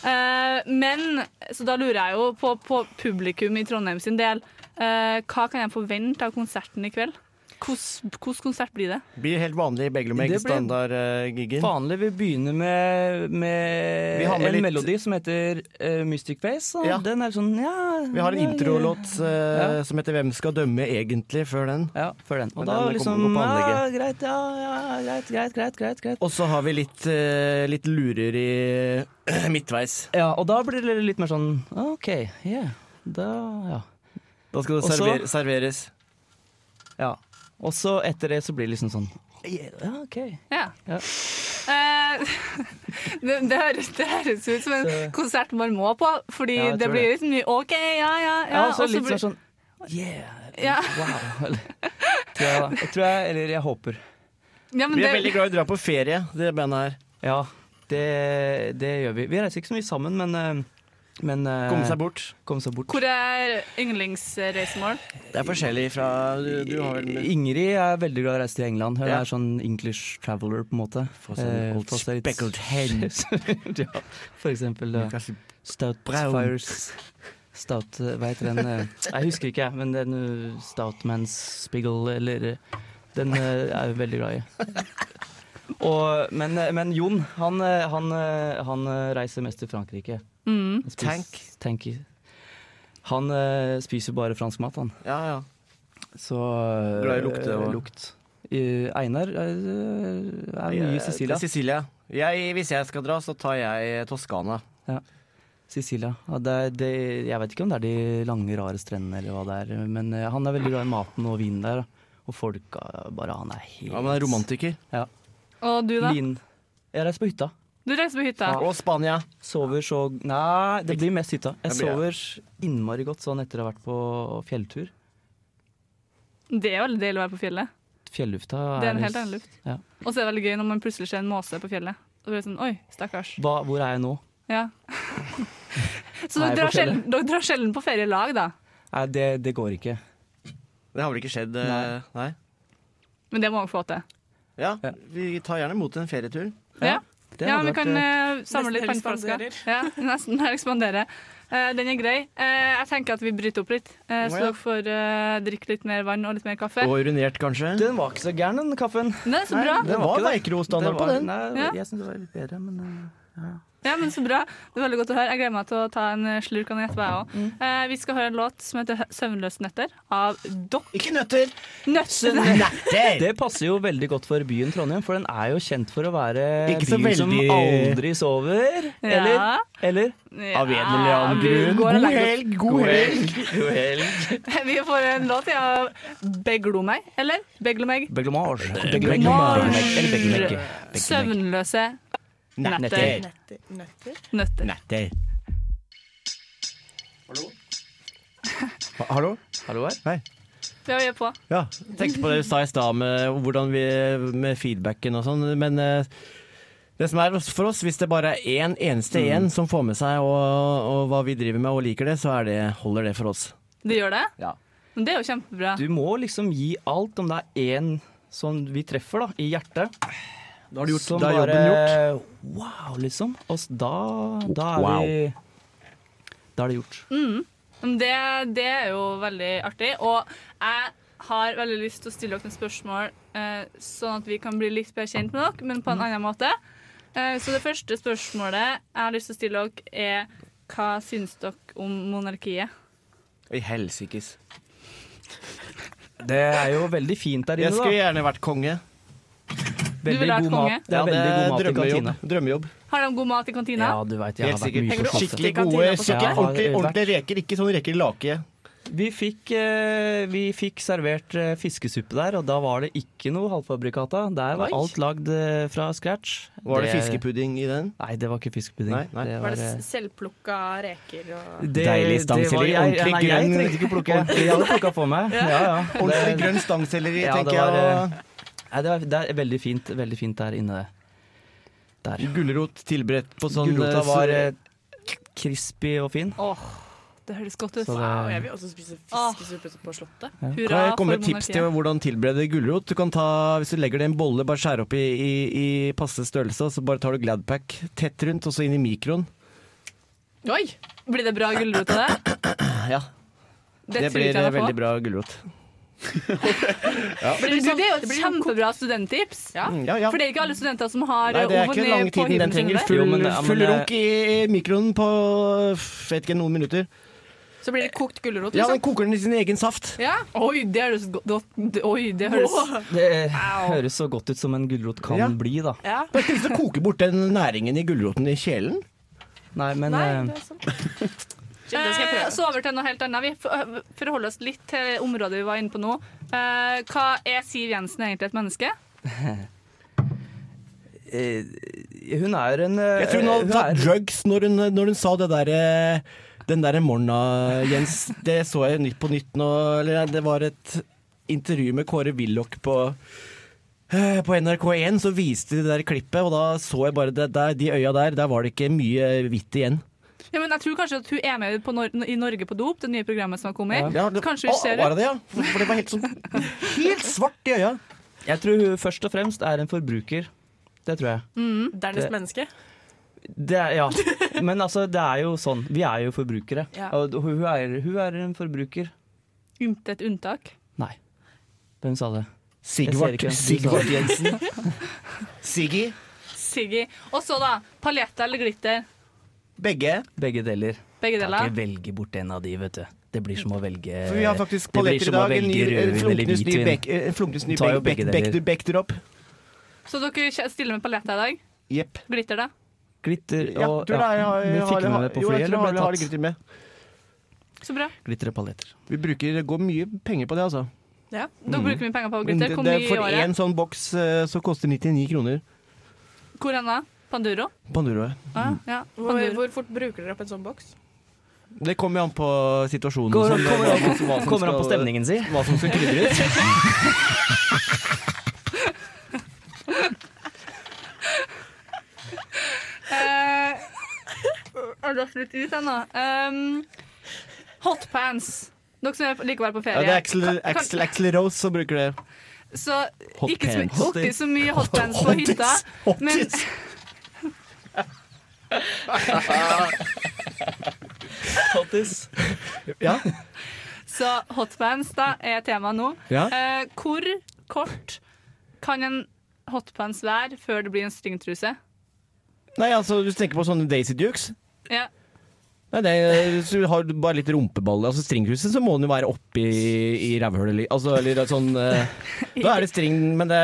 Eh, men Så da lurer jeg jo på, på publikum i Trondheim sin del. Eh, hva kan jeg forvente av konserten i kveld? Hvilken konsert blir det? Blir helt Det vanlig blir Beglomeg-standardgiggen. Vanlig. Vi begynner med, med eh, Vi har med en litt- melodi som heter eh, Mystic Face. Og Ja. den er sånn ja Vi har en ja, ja, introlåt eh, Ja. som heter 'Hvem skal dømme egentlig?' før den. Ja, før den. Og Men da den liksom kommer på ja, anlegget. greit, ja, ja, greit, greit, greit, greit, greit. Og så har vi litt, eh, litt lurer i eh, midtveis. Ja, og da blir det litt mer sånn OK, yeah. Da, ja. Da skal det Og så- server serveres. ja. Og så etter det så blir det liksom sånn Ja, OK. Ja. Ja. Eh, det, det, høres, det høres ut som en Så- konsert man må på, fordi Ja, jeg det tror blir det. litt mye OK, ja, ja, ja. Ja, og så og så litt blir- sånn Yeah, Ja. Wow. Eller, tror jeg, jeg tror jeg, eller jeg håper. Ja, men sånn- vi er det- veldig glad i å dra på ferie, det bandet her. Ja, det, det gjør vi. Vi reiser ikke så mye sammen, men, eh, men eh, Komme seg bort. Komme seg bort. Hvor er yndlingsreisemål? Det er forskjellig fra du, du har vel Ingrid er veldig glad i å reise til England. Hun Ja. er sånn English traveler, på en måte. Få seg Eh, en old speckled hen. ja, for eksempel eh, Stout brown. Fires. Stout eh, Hva heter den? eh, Jeg husker ikke, jeg, men den eh, Stoutman's Spiggle, eller eh, Den eh, er jeg veldig glad i. Og, men, eh, men Jon, han, eh, han, eh, han eh, reiser mest til Frankrike. Mm. Han spiser- Tank. tank. Han eh, spiser bare fransk mat, han. Ja, ja. Så Glad i lukte eh, og- lukt. Eh, Einar eh, er mye i Sicilia. Det er Sicilia. Jeg, hvis jeg skal dra, så tar jeg eh, Toskana. Ja. Sicilia. Ja, det er, det, jeg vet ikke om det er de lange, rare strendene eller hva det er, men eh, han er veldig glad i maten og vinen der. Og folka bare Han er helt Ja, men han er romantiker. Ja. Og du, da? Lin. Jeg reiser på hytta. Du reiser på hytta. Og Spania. Sover så Nei, det blir mest hytta. Jeg Det blir sover innmari godt sånn etter å ha vært på fjelltur. Det er veldig deilig å være på fjellet. Fjellufta Det er en helt annen luft. Ja. Og så er det veldig gøy når man plutselig ser en måse på fjellet. Og så blir det sånn, oi, stakkars. Hva, hvor er jeg nå? Ja. så Nei, dere drar, på fjellet. sjelden, dere drar sjelden på ferie i lag, da. Nei, det, det går ikke. Det har vel ikke skjedd? eh, Nei. Men det må dere få til. Ja, vi tar gjerne imot en ferietur. Ja, det ja vi hadde vært, kan eh, eh, samle litt nesten panneflasker. Ja, nesten her ekspanderer. Eh, den er grei. Eh, jeg tenker at vi bryter opp litt, eh, Å, så ja. dere får eh, drikke litt mer vann og litt mer kaffe. Og urinert, kanskje? eh, Den var ikke så gæren, den kaffen. Nei, så bra. Den var veikro-standard på den. Nei, Ja. jeg syns det var litt bedre, men eh, ja. Ja, men Så bra. Det er veldig godt å høre. Jeg gleder meg til å ta en eh, slurk av den etterpå, jeg òg. Eh, vi skal høre en låt som heter 'Søvnløse nøtter' av Dokk. Ikke nøtter! Nøtter! Det passer jo veldig godt for byen Trondheim, for den er jo kjent for å være Ikke så byen som veldig- aldri sover. Ja. Eller? Eller? Ja, Av en eller annen grunn. går og legger oss. God God helg. vi får en låt ja, av Beglo meg, eller? Beglo meg. Beglomage. Beglomage. Eller beglemegge. Søvnløse Netter. nøtter. Nøtter. Netter. Hallo? Ha- Hallo? Hallo her. Hei. Ja, vi er på. Ja, jeg tenkte på det du sa i stad med, hvordan vi- med feedbacken og sånn, men eh, det som er for oss, hvis det bare er én eneste Mm. én som får med seg og, og hva vi driver med og liker det, så er det, holder det for oss. Det gjør det? Ja. Men det er jo kjempebra. Du må liksom gi alt om det er én som vi treffer da, i hjertet. Da har du gjort- som da er jobben bare, Wow, liksom. Og s- da, da er Wow. vi Da er det gjort. Mm. Men Det, det er jo veldig artig. Og jeg har veldig lyst til å stille dere noen spørsmål, eh, sånn at vi kan bli litt bedre kjent med dere, men Mm. på en annen måte. Eh, så det første spørsmålet jeg har lyst til å stille dere, er hva syns dere om monarkiet? I helsikes. Det er jo veldig fint der inne, Jeg skulle gjerne vært konge. Du ville vært god konge? mat. Det er veldig god mat i kantina. Drømmejobb. Har de god mat i kantina? Ja, du vet, jeg har Helt vært sikkert. mye Tenker på du slottet. skikkelig gode, Ja, skikkelig jeg har ordentlig- vært- ordentlige reker, ikke sånn reker i lake. Vi fikk, eh, vi fikk servert eh, fiskesuppe der, og da var det ikke noe halvfabrikata. Der var Oi. alt lagd eh, fra scratch. Var det fiskepudding i den? Nei, det var ikke fiskepudding. Nei, nei. Det Var var, det eh, Selvplukka reker og det- det Deilig var- stangselleri. jeg- Ordentlig nei, grønn- Jeg trengte ikke plukke. Ordentlig, Jeg hadde plukka på meg. Ja, ja. Ordentlig Det- grønn stangselleri, ja, det tenker var, jeg. eh, og- Nei, det, var, det er veldig fint, veldig fint der inne. Der. Gulrot tilberedt på sånn Gulrota eh, var eh, crispy og fin. Åh, det høres godt ut. Så det- Wow, jeg vil også spise fiskesuppe på Slottet. Ja. Kan jeg komme med tips til hvordan tilberede gulrot? Du kan ta, Hvis du legger det i en bolle, bare skjære opp i, i, i passe størrelse, og så bare tar du Gladpack tett rundt, og så inn i mikroen. Oi! Blir det bra gulrot av det? Ja, det, tror blir ikke jeg eh, meg på. veldig bra gulrot. Men du, det er jo et kjempebra studenttips. Mm, ja, ja. For det er ikke alle studenter som har Nei, det er oven ikke lang på tiden hybelen den sin trenger. der. Full, Jo, men- ja, men, full eh, runk i i mikroen på f- vet ikke, noen minutter. Så blir det kokt gulrot, liksom. Ja, den koker den i sin egen saft. Ja. Oi, det høres godt Oi, det høres Det eh, Au. høres så godt ut som en gulrot kan Ja. bli, da. Ja. Du har ikke lyst til å koke bort den næringen i gulroten i kjelen? Nei, men eh, Eh, Så over til noe helt annet. Vi for- forholder oss litt til området vi var inne på nå. Eh, Hva er Siv Jensen egentlig et menneske? eh, Hun er en eh, Jeg tror hun hadde er- tatt drugs når hun, når hun sa det der eh, Den derre morgena, Jens. Det så jeg nytt på nytt nå. Eller det var et intervju med Kåre Willoch på eh, på NRK1 så viste de det der klippet, og da så jeg bare det der, de øya der. Der var det ikke mye hvitt igjen. Ja, men jeg tror kanskje at hun er med på Nor i Norge på dop, det nye programmet som har kommet. Ja, det- Kanskje hun Å, ser var det det, ja? For det var helt sånn Helt svart i øya. Jeg tror hun først og fremst er en forbruker. Det tror jeg. Dernest Det- menneske. Det er, ja. Men altså, det er jo sånn. Vi er jo forbrukere. Ja. Og hun er, hun er en forbruker. Intet unntak. Nei. Hvem sa det? Sigvart. Jeg ser ikke hvem Sigvart som sa det. Jensen. Siggy. Siggy. Og så, da. Paljetter eller glitter? Begge. Begge deler. Begge deler. Kan ikke velge bort en av de, vet du. Det blir som å velge For vi har faktisk Det blir paljetter i som å dag. En ny velge en rødvin eller flunknes ny hvitvin. bek- en flunknes ny Ta jo bek- begge bek- deler. bek- Bekdrop. Så dere kje- stiller med paljetter i dag? Jepp. Glitter, da? Glitter Ja, og tror det er- jeg har- men jeg fikk har- vi med på jo, jeg flyet, tror eller jeg ble har- jeg har tatt? glitter med. Så bra. Glitter og paljetter. Vi bruker, det går mye penger på det, altså. Ja. Da Mm. bruker vi penger på Men glitter. Hvor det- mye i For året? én sånn boks eh, så koster 99 kroner. Hvor hen da? Panduro? Panduroet. Ah, ja. Hvor, Panduro. hvor fort bruker dere opp en sånn boks? Det kommer jo an på situasjonen. Går- og sånn, kommer an- hva som- hva som kommer an på skal- stemningen si. Hva som skal krydres. Eh, Har du slutt ut ennå? Um, hotpants. Dere som er- liker å være på Ja, ferie. det er Axel, Kan- kan- Axel, Axel Rose som bruker det. Så ikke så, Hotpants. alltid så mye hotpants på Hottis. hytta. Men, Hottis. Ja. så hotpants da er tema nå. Ja. Eh, hvor kort kan en hotpants være før det blir en stringtruse? Nei, altså, du tenker på sånne Daisy Dukes? Ja. Nei, det, Hvis du har bare litt rumpeball Altså stringkruset, så må den jo være oppi i rævhølet. eller- Altså, eller sånn eh, Da er det string, men det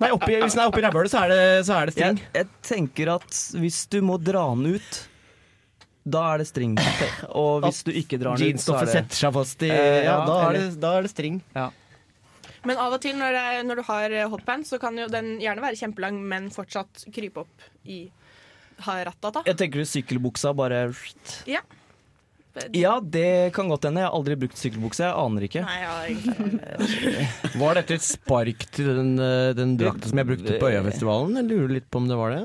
Nei, oppi, hvis den er oppi rævhølet, så er det, så er det string. Jeg, jeg tenker at hvis du må dra den ut, da er det string. Og hvis du ikke drar den ut, så er Jeansstoffet det setter seg fast i Eh, Ja, da er eller- det, da er det string. Men av og til når, det, er- når du har eh, hotpants, så kan jo den gjerne være kjempelang, men fortsatt krype opp i ha rattet, da. Jeg tenker sykkelbuksa bare Ja. Ja, det kan godt hende. Jeg har aldri brukt sykkelbukse. Jeg aner ikke. Nei, ja, egentlig. Var dette et spark til den, eh, den drakta som jeg brukte på Øyafestivalen? Jeg lurer litt på om det var det.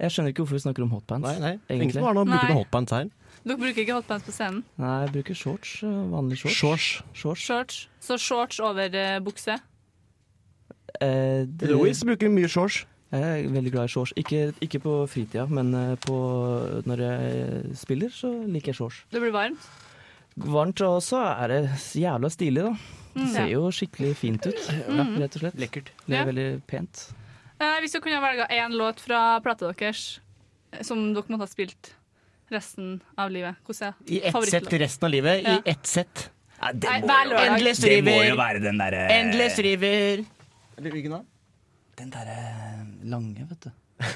Jeg skjønner ikke hvorfor vi snakker om hotpants. Nei, nei. egentlig. Ingen som har noe bruker Nei. noe hotpants her. Dere bruker ikke hotpants på scenen. Nei, jeg bruker shorts. øh, Vanlig shorts. Shorts. Shorts. Så shorts over eh, bukse. Eh, det- Louis bruker mye shorts. Jeg er veldig glad i shorts. Ikke, ikke på fritida, men øh, på, når jeg eh, spiller, så liker jeg shorts. Det blir varmt. Varmt, og så er det jævla stilig, da. Mm. Det ser Ja. jo skikkelig fint ut, Mm. rett og slett. Lekkert. Det Ja. er veldig pent. Eh, hvis dere kunne velge én låt fra plata deres eh, som dere måtte ha spilt resten av livet, hvordan er I ett favorittlåt? sett resten av livet. Ja. I ett sett. Nei, hver lørdag. Endless Det river. må jo være den derre- Endless river. Eller hvilken da? Den derre lange, vet du. Den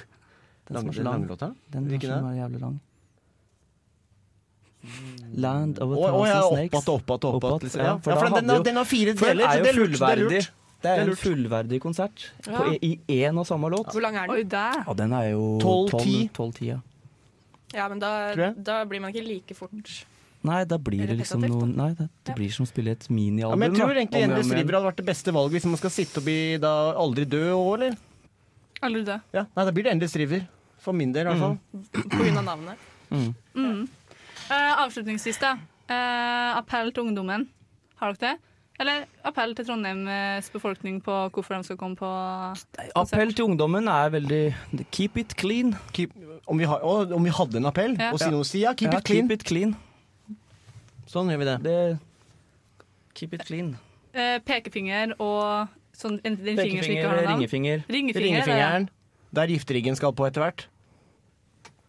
Lange- som er så den lang. lange låta? Den Hvilken som da? er jævlig lang. Land of a Å, å, thousand ja, snakes. opp att, opp att, opp att, Opp att, liksom. Ja, for ja, da for den- hadde den har- jo- den har fire for den deler, er så jo det er lurt, det er fullverdig. lurt. Det Det er er en lurt. fullverdig konsert på, Ja. i én og samme låt. Hvor lang er Oi, den? der. Ja, den er jo 12, 12-10. 10. ja. Ja, men Tror da, jeg. da blir man ikke like fort. Nei, da blir det liksom Repetitivt, noe Nei, det, det blir som å spille et minialbum. Ja, men jeg da. tror Om egentlig igjen, Endless om igjen. river hadde vært det beste valget hvis man skal sitte oppi da aldri dø òg, eller? Aldri dø. Ja, nei, da blir det Endless river. For min del, i hvert fall. På grunn av navnet. Mm. Eh, avslutningsvis, da. Eh, appell til ungdommen. Har dere det? Eller appell til Trondheims befolkning på hvorfor de skal komme på Appell til ungdommen er veldig Keep it clean. om, vi har, å, om vi hadde en appell? Ja. Og si noe si, ja, keep Ja, it clean. Keep it clean. Sånn gjør vi det. Keep it clean. Eh, pekefinger og sånn en- den fingeren som ikke har Pekefinger, noe navn. ringefinger. Ringefinger, Ringefingeren. Der gifteriggen skal på etter hvert.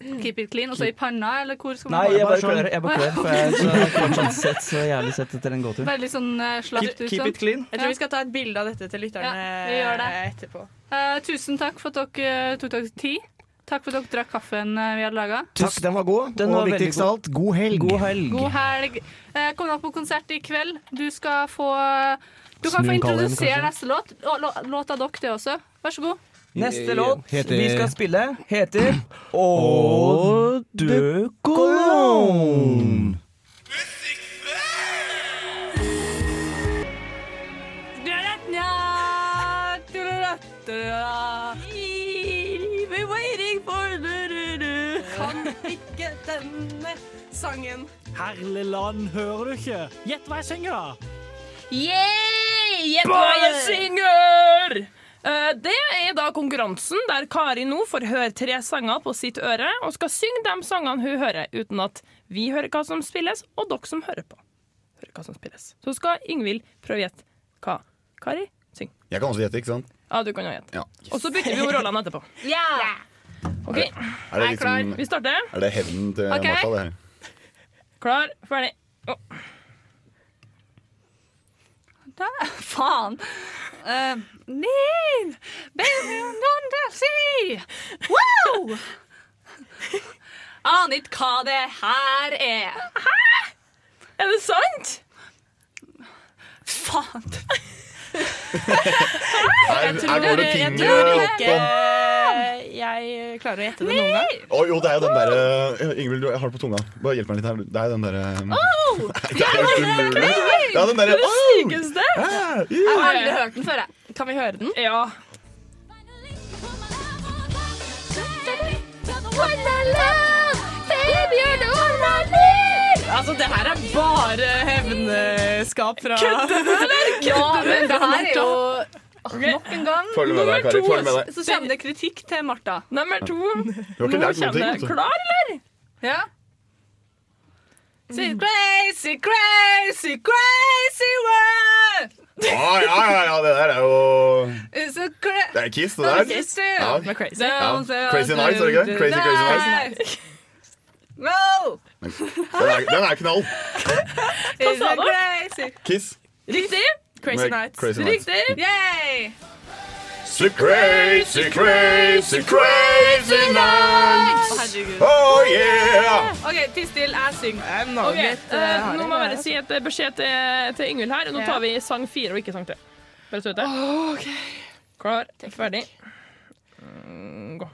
ja. Keep it clean. Og så i panna, eller hvor skal man Nei, jeg bare sånn- klør, jeg bare klør, for jeg er så- fortsatt sett så jævlig sett etter en gåtur. Bare litt sånn eh, slapt ut. sånn. Jeg tror vi skal ta et bilde av dette til lytterne Ja, vi gjør det. eh, etterpå. Eh, tusen takk for at dere eh, tok dere tid. Takk for at dere drakk kaffen eh, vi hadde laga. Takk, den var god. Den var og veldig viktigst god. av alt, god helg. God helg. God helg. Eh, kom dere på konsert i kveld. Du skal få Du kan få Snu kallen, introdusere kanskje. neste låt. Og lå- Låt av dere, det også. Vær så god. Neste låt Heter- vi skal spille, heter Å dø kolon. We're waiting for du-du-du. Kan ikke denne sangen. Herlig land, hører du ikke? Gjett hva jeg synger, da! Yeah! Gjett hva Bare jeg synger! Eh, Det er da konkurransen der Kari nå får høre tre sanger på sitt øre, og skal synge de sangene hun hører, uten at vi hører hva som spilles, og dere som hører på, hører hva som spilles. Så skal Ingvild prøve å gjette hva Kari synger. Jeg kan også gjette, ikke sant? Ja, du kan jo gjette. Ja. Og så bytter vi jo rollene etterpå. OK, Er det jeg er sånn- klar. liksom- Vi starter. Er det hevnen til Ok. Martha, det her? Klar, ferdig. Å. Da, faen. Eh, Uh, Neil, baby, don't you see? Wow! Aner ikke hva det her er. Hæ? Er det sant? Faen. Her, Jeg tror her går det dere- ting jeg tror opp ikke om jeg klarer å gjette det noen gang. Å jo, det er jo den derre Ingvild, du jeg har det på tunga. Bare hjelp meg litt her. Det er jo den derre Oh! Det er helt umulig. Ja, den Det er derre det «Åh!» sykeste! Ah, Jeg har aldri hørt den før, jeg. Kan vi høre den? Ja. Altså, det her er bare hevneskap fra Kødder du, eller? Ja, men det her er jo Nok en gang. Følg med deg, Kari. Følg med deg. Så kommer det kritikk til Martha. Nummer to. Du har ikke lært noen ting. altså. Klar, eller? Ja. Mm. Sier Crazy, crazy, crazy world. Ah, ja, ja, ja, det der er jo It's a cra Det er Kiss, det der. Ja. Med Crazy. altså Ja. Crazy Nights, er det ikke det? Crazy, Crazy Nights. No! Den er, den er knall. Hva sa du? Crazy. Kiss. Riktig. Crazy Med Nights. Crazy Nights. Riktig. Yay! So crazy, crazy, crazy Å, nights. herregud. Oh yeah! OK, ti still, jeg synger. Ok, Ok, eh, eh, nå må jeg bare si et beskjed til, til Yngvild her. Nå Ja. tar vi sang fire og ikke sang tre. Bare så du vet det. Klar, ferdig. Mm, Gå.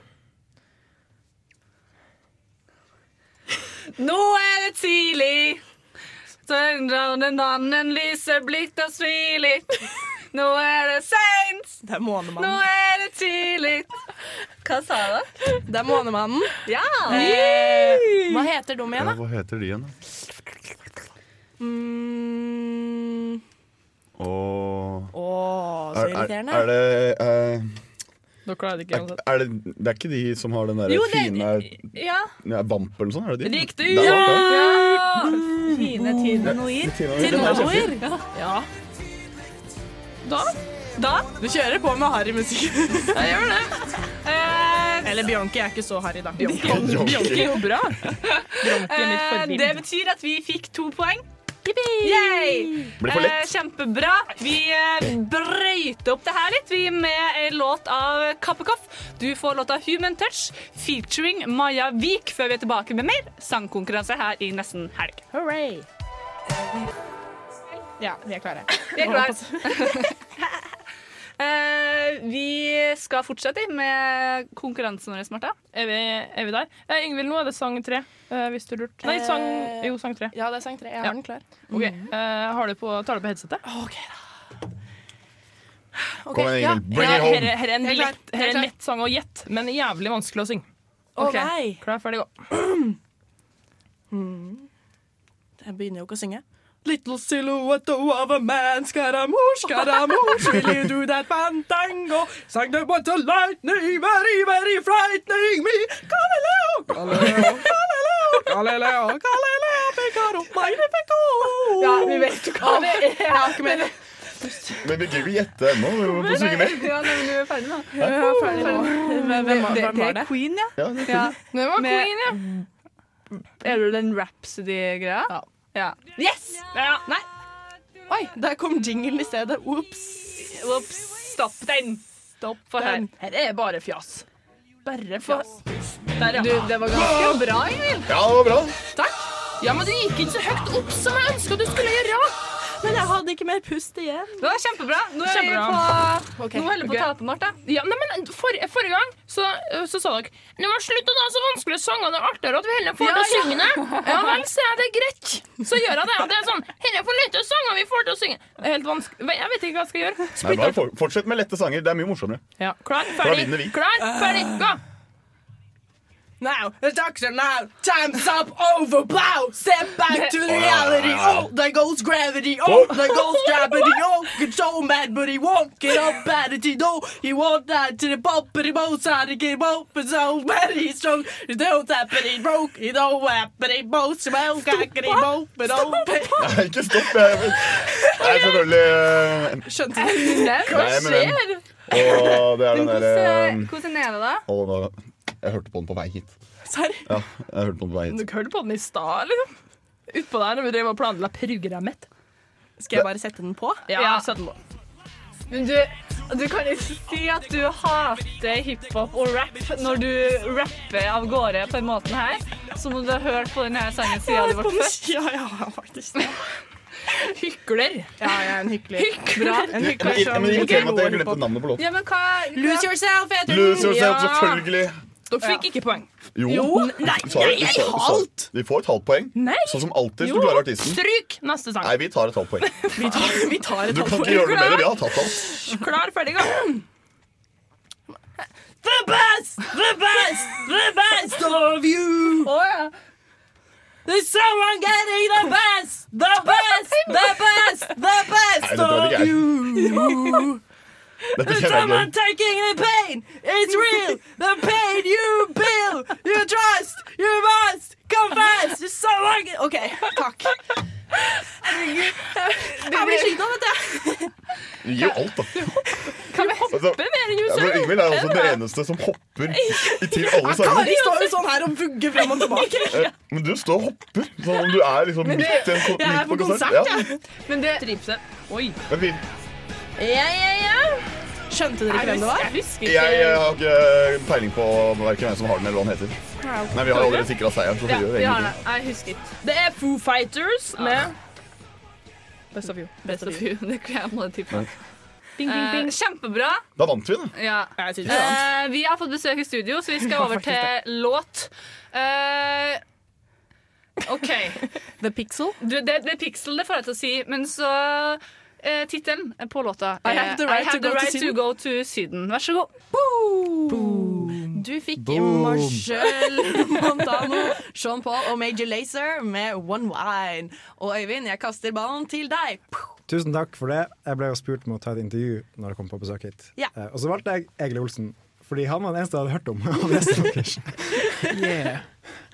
Nå er det tidlig. Søndra den dannen lyser blitt og smilig. Nå er det seint. Det er Månemannen. Nå er det tidlig. Hva sa du? Det er Månemannen. Ja! Eh, hva heter de Ja, igjen, da? hva heter de igjen, da? Mm, Åh. å, så Er, er, irriterende. er det eh, Dere klarer det ikke er, uansett. er det, det er ikke de som har den der Jo, det- fine Ja. ja, Vamp eller sånn? Er det de? Riktig! Der, Ja! Fine Tine Noir. Tinoer. Ja. Da? Da? Du kjører på med harry musikk. Jeg gjør det. Eller Bjørnke er ikke så harry, da. Bjørnke Bjørnke er jo bra. Bjørnke er litt Eh, for Det vild. betyr at vi fikk to poeng. Yay! Blir for lett. Eh, kjempebra. Vi eh, brøyter opp det her litt Vi med en låt av Kappekoff. Du får låta 'Human Touch' featuring Maja Vik før vi er tilbake med mer sangkonkurranse her i nesten helg. Hooray! Ja, vi er klare. Vi er klare. Eh, vi skal fortsette med konkurransen vår, Martha. Er vi, er vi der? Eh, Yngvild, nå er det sang tre, eh, hvis du lurte. Nei, sang, jo, sang tre. Ja, det er sang tre. Jeg har den klar. Ok, eh, har du på, Tar du på headsetet? Ok, da. Kom igjen, Ingvild. Bring it home. Her er en Jeg er klar. lett, her er Jeg er en klar. lett sang å gjette, men jævlig vanskelig å synge. Å, Ok, nei. Klar, ferdig, gå. Mm. Jeg begynner jo ikke å synge. Little silhouette of a man, scaramouche, scaramouche, will you do that fandango? Sang the water lightning, very, very frightening me. Galileo, Galileo, Galileo, Galileo, Galileo, Picaro, magnifico. Ja, vi vet jo hva det er. Jeg har ikke mer. Men vi gidder ikke gjette ennå. Vi må få synge mer. Ja, men vi er ferdig nå. Ja, jeg er ferdig nå. Hvem- hvem var- hvem var Det er det? Queen, ja. Ja, det er Ja. Det var Med- Queen, ja. Er du den Rhapsody-greia? Ja. Yes! Nei. Oi, der kom jinglen i stedet. Ops. Ops. Stopp den. Stopp for her. Her er bare fjas. Bare fjas. Der, ja. Du, det var ganske bra, Ingvild. Ja, det var bra. Takk. Ja, men du gikk ikke så høyt opp som jeg ønska du skulle gjøre. Men jeg hadde ikke mer pust igjen. Det var kjempebra. Nå er vi på- nå holder vi på å tape, Martha. Ja, nei, men for, Forrige gang så, eh, så sa dere Nå må slutt å ta så vanskelige sanger. Det er artigere at vi heller får Ja, til å ja. synge det. Ja vel, sier jeg. Det er greit. Så gjør jeg det. Og det er sånn Heller for lette sanger vi får til å synge. Det er Helt vanskelig. Jeg vet ikke hva jeg skal gjøre. Nei, Splitter. bare for, fortsett med lette sanger. Det er mye morsommere. Ja, klar, Da ferdig. vinner vi. Klar, ferdig, gå. Now, the doctor now, time's up, over, blow, step back to reality, oh, there goes gravity, oh, there goes gravity, oh, get so mad, but he won't get up at it, he do, he won't die to the pulp, but he won't side to get up, but so mad he's strong, he don't tap, but he broke, he don't whap, but he both smell, cock, and he both, but oh, Nei, ikke stopp. Jeg vet. Det er selvfølgelig eh, Skjønte du det? Hva Nei, men den- skjer? Og det er den eh, derre Hvordan er det, da? Å, nå- Jeg hørte på den på vei hit. Serr? Ja, jeg hørte på den på vei hit. Du hørte på den i stad, liksom. Utpå der når vi drev og planla programmet. Skal jeg bare sette den på? Ja, sett den på. Men du, du kan ikke si at du hater hiphop og rap når du rapper av gårde på den måten her. Som om du har hørt på denne sangen siden du ble født. Ja, ja, faktisk. Hykler. Ja, jeg er en hykler. Bra. Men men- men irriterer meg at jeg glemte navnet på låten. Ja, men hva, Lose yourself, heter den. Lose yourself, Ja. selvfølgelig. Dere fikk ikke poeng. Jo. Jo. Nei, Du tar- nei, du et tar- du tar- halvt. Vi får et halvt poeng. Nei. Sånn som alltid hvis Jo. du klarer artisten. Stryk neste sang. Nei, vi tar et halvt poeng. Vi tar, vi tar et Du kan halvt ikke gjøre noe poeng. bedre. Vi har tatt alt. Klar, ferdig, gå. The best, the best, the best of you. There's someone getting the best, the best, the best, the Nei, best dette var of ikke jeg. you. Dette There's kjenner jeg someone ikke. taking the pain, it's real, the pain you feel, you trust, you must confess. There's someone get- OK, takk. Jeg blir sliten av dette. Vi gir jo alt, da. Kan vi Altså, hoppe mer enn Ja, men Josef? Ingvild er altså den eneste som hopper i- til Kari alle sangene. står jo sånn her og vugger frem og tilbake. Eh, Men du står og hopper, som om du er liksom Men midt du- i en ko- Jeg er midt på på konsert. konsert, Ja. Men det Oi. Men vi- Ja, ja, ja. Skjønte dere Jeg hvem det var? husker- jeg husker Jeg, jeg har ikke peiling på hverken hvem som har den, eller hva den heter. Nei, Vi har allerede sikra seieren. så vi Ja, gjør vi har det. egentlig Jeg husker ikke. Det er Foo Fighters med Best of you. Best of you. Det kan jeg på det tippe. Nei. Ding, ding, ding. Kjempebra. ikke. Da vant vi, da. Ja. vi vant. Eh, vi har fått besøk i studio, så vi skal Ja, over faktisk til låt. Eh, OK. The Pixel? Du, det, det er Pixel det får jeg til å si, men så uh, Tittelen på låta I er have the right to go to Syden. go to Syden. Vær så god. Du fikk Boom. Marcel Montano, Sean Paul og Major Lazer med One Wine. Og Øyvind, jeg kaster ballen til deg. Tusen takk for det. Jeg ble jo spurt om å ta et intervju når jeg kom på besøk hit. Ja. Eh, Og så valgte jeg Egil Olsen, fordi han var den eneste jeg hadde hørt om. av gjestene deres.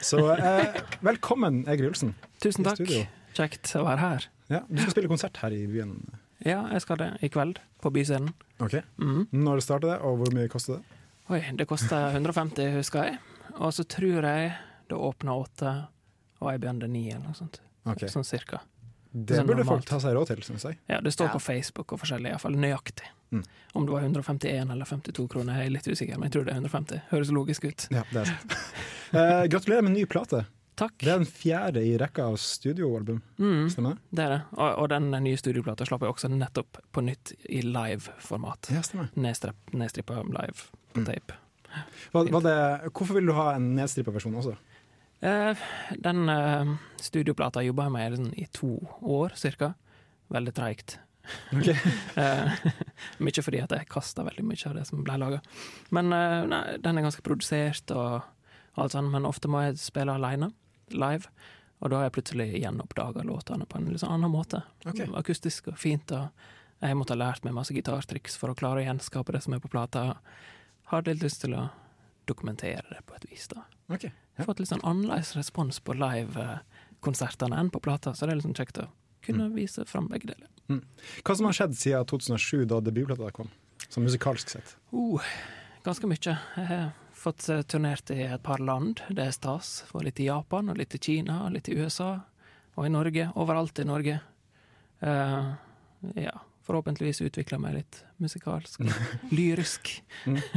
Så eh, velkommen, Egil Olsen. Tusen i takk. studio. Kjekt å være her. Ja, du skal spille konsert her i byen. Ja, jeg skal det i kveld, på Byscenen. Mm. Ok. Når starter det, og hvor mye koster det? Oi, det kosta 150, husker jeg. Og så tror jeg det åpna åtte, og jeg begynte ni, eller noe sånt. Ok. Sånn cirka. Det Sånn burde normalt. folk ta seg råd til, syns jeg. Ja, det står på Facebook og forskjellig, iallfall nøyaktig. Mm. Om det var 151 eller 52 kroner, jeg er litt usikker, men jeg tror det er 150. Høres logisk ut. Ja, det er sant. Eh, gratulerer med en ny plate. Takk. Det er den fjerde i rekka av studioalbum. Mm. Stemmer det? Det er det. Og, og den eh, nye studioplata slapp jeg også nettopp på nytt i live-format. Ja, stemmer. Nedstripp- Nedstrippa live på tape. Var, var det, hvorfor vil du ha en nedstrippa versjon også? Eh, den eh, studioplata jobba jeg med sånn, i to år cirka. Veldig treigt. eh, mye fordi at jeg kasta veldig mye av det som ble laga. Men eh, nei, den er ganske produsert og alt sånn, men ofte må jeg spille aleine, live. Og da har jeg plutselig gjenoppdaga låtene på en litt sånn annen måte. Ok. Akustisk og fint. og Jeg måtte ha lært meg masse gitartriks for å klare å gjenskape det som er på plata. Har litt lyst til å dokumentere det på et vis, da. Ok, Jeg har fått litt sånn annerledes respons på livekonsertene enn på plata, så det er litt sånn kjekt å kunne vise fram begge deler. Mm. Hva som har skjedd siden 2007, da debutplata kom? Sånn musikalsk sett. Oh, ganske mye. Jeg har fått eh, turnert i et par land, det er stas. Var litt i Japan, og litt i Kina, og litt i USA, og i Norge. Overalt i Norge. Eh, ja. Forhåpentligvis utvikla meg litt musikalsk. Lyrisk. Mm.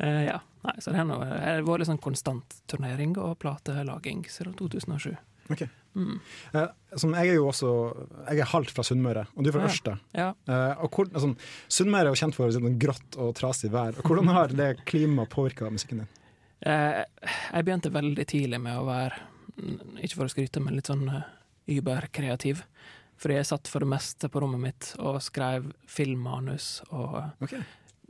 Eh, ja. Nei, så det har nå- det har vært litt sånn konstant turnering og platelaging siden 2007. Ok. Mm. Eh, som jeg er jo også Jeg er halvt fra Sunnmøre, og du er fra Ja. Ørsta. Ja. Eh, og hvor, altså, Sunnmøre er jo kjent for sånn grått og trasig vær. Og hvordan har det klimaet påvirka musikken din? Eh, jeg begynte veldig tidlig med å være, mm, ikke for å skryte, men litt sånn eh, überkreativ. Fordi jeg satt for det meste på rommet mitt og skrev filmmanus og eh,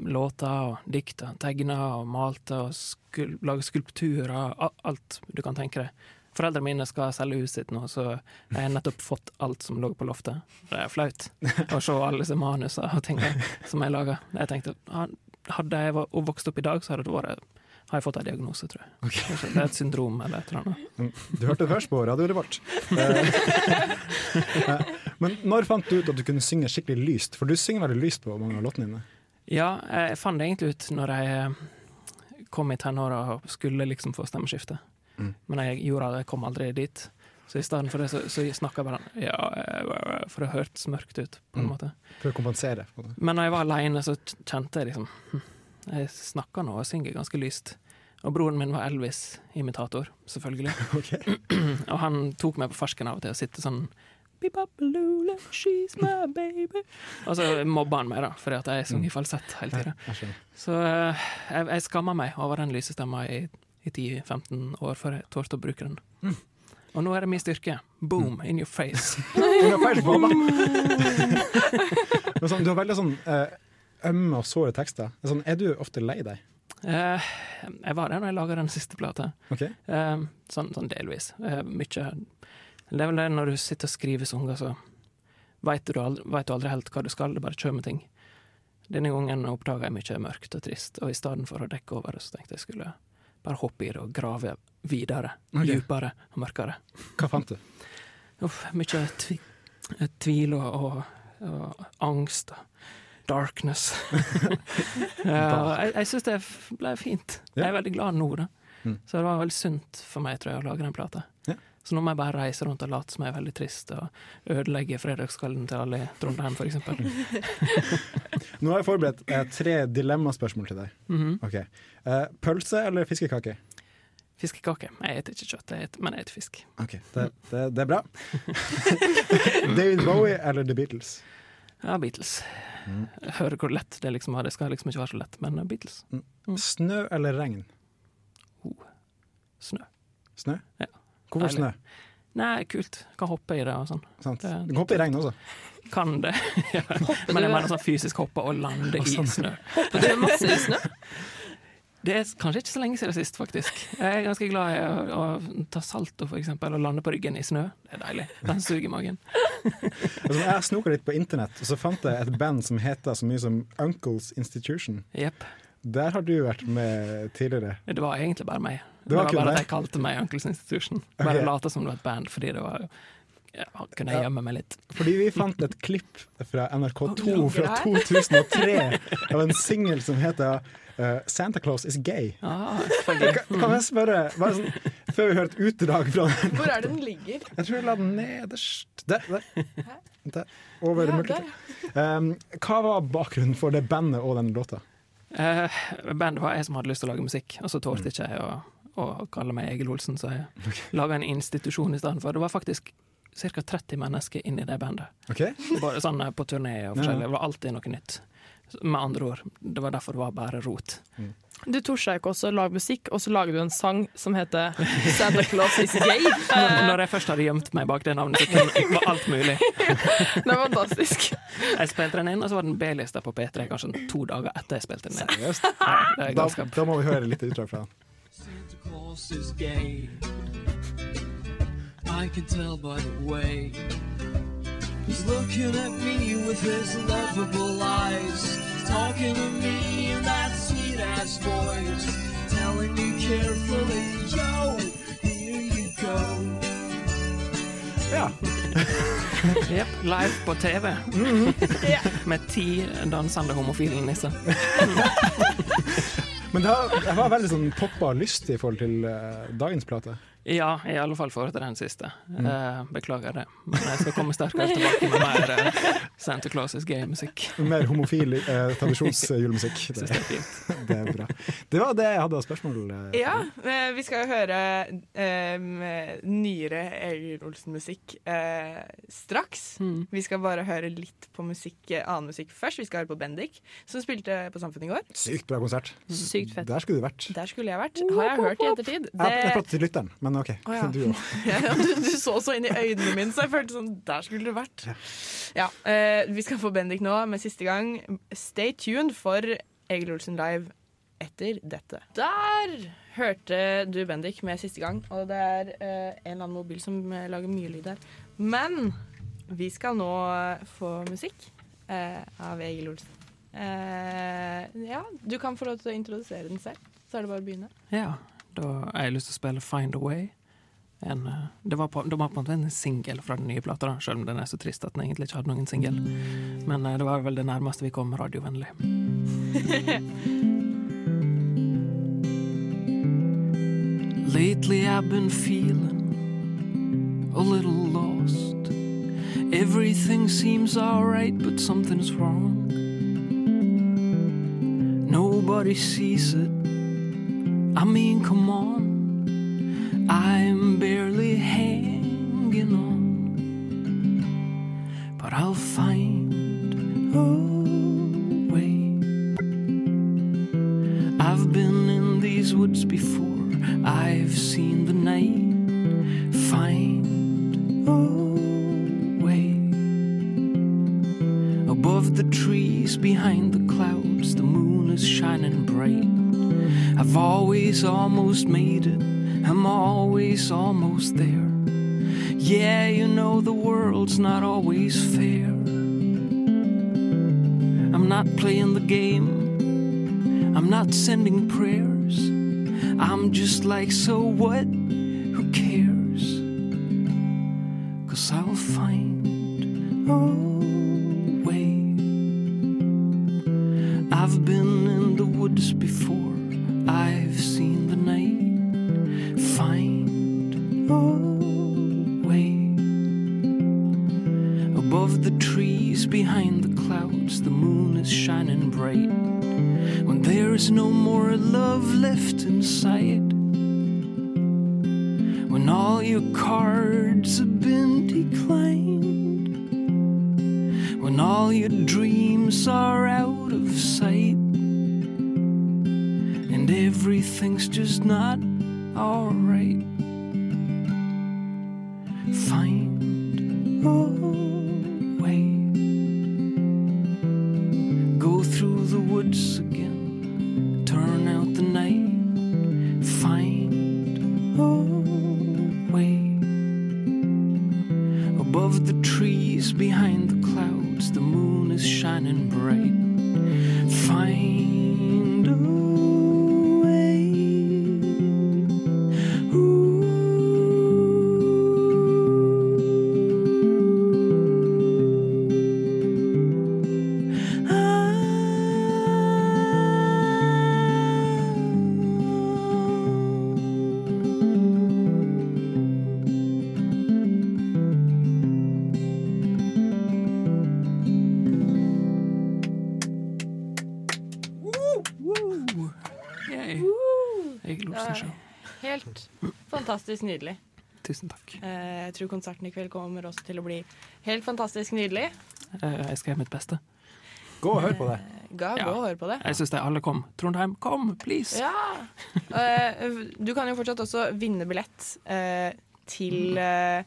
låter og dikt og tegna og malte og skul laga skulpturer. a- Alt du kan tenke deg. Foreldrene mine skal selge huset sitt nå, så jeg har nettopp fått alt som lå på loftet. Det er flaut å se alle disse manusene og tingene som jeg laga. Jeg tenkte, ah, Hadde jeg var- vokst opp i dag, så hadde det vært har jeg fått en diagnose, tror jeg. Kanskje Det er et syndrom eller et eller annet. Du hørte det først på radioen vårt. Eh, eh, men når fant du ut at du kunne synge skikkelig lyst? For du synger veldig lyst på mange av låtene dine. Ja, jeg fant det egentlig ut når jeg eh, kom i tenåra og skulle liksom få stemmeskifte. Mm. Men jeg gjorde det, jeg kom aldri dit. Så i stedet for det så, så snakka jeg bare ja, eh, for det hørtes mørkt ut, på en Mm. måte. For å kompensere. på det. Men når jeg var aleine, så k- kjente jeg liksom hm, Jeg snakker nå og synger ganske lyst. Og broren min var Elvis-imitator, selvfølgelig. og han tok meg på fersken av og til og sitte sånn Bibabelula, she's my baby. Og så mobba han meg, da, fordi at jeg sang Mm. i falsett hele tida. Så eh, jeg, jeg skamma meg over den lyse stemma i, i 10-15 år før jeg torde å bruke den. Mm. Og nå er det min styrke. Boom, in your face. In your face, Bob. Men sånn, du har veldig sånn eh, ømme og såre tekster. Det er Sånn, er du ofte lei deg? Eh, jeg var det når jeg laga den siste plata. Ok. Eh, sånn, sånn delvis. Eh, mykje Det er vel det når du sitter og skriver sanger, så veit du, aldri- vet du aldri helt hva du skal, det bare kommer ting. Denne gangen oppdaga jeg mye mørkt og trist, og i stedet for å dekke over det, så tenkte jeg skulle bare hoppe i det og grave videre. Ok. Dypere og mørkere. Hva fant du? Uff, mye tvi eh, tvil og, og, og angst. og Darkness. Ja, jeg jeg syns det f- ble fint. Jeg er veldig glad nå, da. Mm. Så det var veldig sunt for meg, tror jeg, å lage den plata. Så nå må jeg bare reise rundt og late som jeg er veldig trist, og ødelegge fredagskvelden til alle i Trondheim, for eksempel. Nå har jeg forberedt eh, tre dilemmaspørsmål til deg. Mhm. Ok. Eh, pølse eller fiskekake? Fiskekake. Jeg spiser ikke kjøtt, jeg et, men jeg spiser fisk. Ok, det, det, det er bra. David Bowie eller The Beatles? Mm. Ja, Beatles. Jeg hører hvor lett det liksom var. Det skal liksom ikke være så lett, men Beatles. Mm. Mm. Snø eller regn? Snø. Snø? Hvorfor Deilig. snø? Nei, kult. Kan hoppe i det og sånn. Sant. Det- Du kan hoppe i regn også. Kan det. ja. Men jeg mener sånn fysisk hoppe og lande Å, sånn. i snø. Hoppet du masse i snø? Det er kanskje ikke så lenge siden sist, faktisk. Jeg er ganske glad i å, å ta salto, for eksempel, og lande på ryggen i snø. Det er deilig. Den suger i magen. Altså, jeg snoka litt på internett, og så fant jeg et band som heter så mye som Uncles Institution. Jepp. Der har du vært med tidligere. Det var egentlig bare meg. Det Det var var, kun bare deg. at jeg kalte meg Uncles Institution. Bare Ok. late som det var et band, fordi det var ja, kunne jeg Ja. gjemme meg litt. Fordi vi fant et klipp fra NRK2 Ligger fra det her? 2003 av en singel som heter eh, 'Santa Claus Is Gay'. Ah, kan, kan Mm. jeg spørre, bare sånn, før vi hører et utdrag fra den Hvor er det den ligger? Jeg tror jeg la den nederst Der. der. der. Over Ja, mørket. Um, hva var bakgrunnen for det bandet og den låta? Eh, bandet var jeg som hadde lyst til å lage musikk, og Mm. så tålte ikke jeg å, å kalle meg Egil Olsen, så jeg laga en institusjon i stedet for. Det var faktisk ca. 30 mennesker inni det bandet. Ok. Bare sånn eh, på turné og Ja. forskjellig. Det var alltid noe nytt. Så Med andre ord, det var derfor det var bare rot. Du torde ikke også å lage musikk, og så lager du en sang som heter Santa Claus is gay. Eh, Når jeg først hadde gjemt meg bak det navnet, så kunne- var alt mulig. Det er fantastisk. Jeg spilte den inn, og så var den B-lista på P3 kanskje to dager etter jeg spilte den inn. Seriøst? Ja, det er Da, galskap. da må vi høre litt utdrag fra den. Santa Claus is gay. I can tell by the way he's looking at me with his lovable eyes, talking to me in that sweet ass voice, telling me carefully, yo, here you go. Ja. Jepp. Live på TV. Med ti dansende homofile nisser. Men det var, det var veldig sånn poppa og lystig i forhold til eh, dagens plate. Ja, i alle fall for den siste. Mm. Eh, beklager det. Men jeg skal komme sterkere tilbake med mer eh, Santa Clauses gay-musikk. Mer homofil eh, tradisjonsjulemusikk. Det, Synes det er fint. det er bra. Det var det jeg hadde av spørsmål. eh. Ja, eh, vi skal jo høre eh, nyere Egil Olsen-musikk eh, straks. Vi skal bare høre litt på musikk, eh, annen musikk først. Vi skal høre på Bendik, som spilte på Samfunnet i går. Sykt bra konsert. Hmm. Sykt fett. Der skulle du vært. Der skulle jeg vært, har jeg hørt i ettertid. Jeg, jeg pratet Det, til lytteren, men OK. Å ja. Du òg. ja, du, du så så inn i øynene mine, så jeg følte sånn Der skulle du vært. Ja, eh, Vi skal få Bendik nå med siste gang. Stay tuned for Egil Olsen live etter dette. Der hørte du Bendik med siste gang, og det er eh, en eller annen mobil som eh, lager mye lyd her. Men vi skal nå eh, få musikk eh, av Egil Olsen. Eh, ja, du kan få lov til å introdusere den selv, så er det bare å begynne. Ja, da har jeg lyst til å spille Find a Way. En, eh, det var på, det var på en måte en singel fra den nye plata, da, selv om den er så trist at den egentlig ikke hadde noen singel. Men eh, det var vel det nærmeste vi kom radiovennlig. Lately I've been feeling a little lost. Everything seems alright, but something's wrong. Nobody sees it. I mean, come on. I'm barely hanging on. But I'll find a way. I've been in these woods before. I've seen the night. Find a way. Above the trees, behind the clouds, the moon is shining bright. I've always almost made it. I'm always almost there. Yeah, you know the world's not always fair. I'm not playing the game. I'm not sending prayers. I'm just like, so what? Who cares? Cause I'll find a way. I've been in the woods before. I've seen the night. Find a way. Above the trees, behind the clouds, the moon is shining bright. When there is no more love left inside. When all your cards have been declined. When all your dreams are out of sight. And everything's just not alright. Find a way. Go through the woods again. Turn out the night. Find a way. Above the trees, behind the clouds, the moon is shining bright. Find a Yay. Egil Olsen Show. Helt fantastisk nydelig. Tusen takk. Eh, Jeg tror konserten i kveld kommer også til å bli helt fantastisk nydelig. Eh, Jeg skal gjøre mitt beste. Gå og hør på det. Ga, Ja. Gå og hør på det. Jeg syns de alle kom. Trondheim, kom, please! Ja. Eh, Du kan jo fortsatt også vinne billett eh, til eh,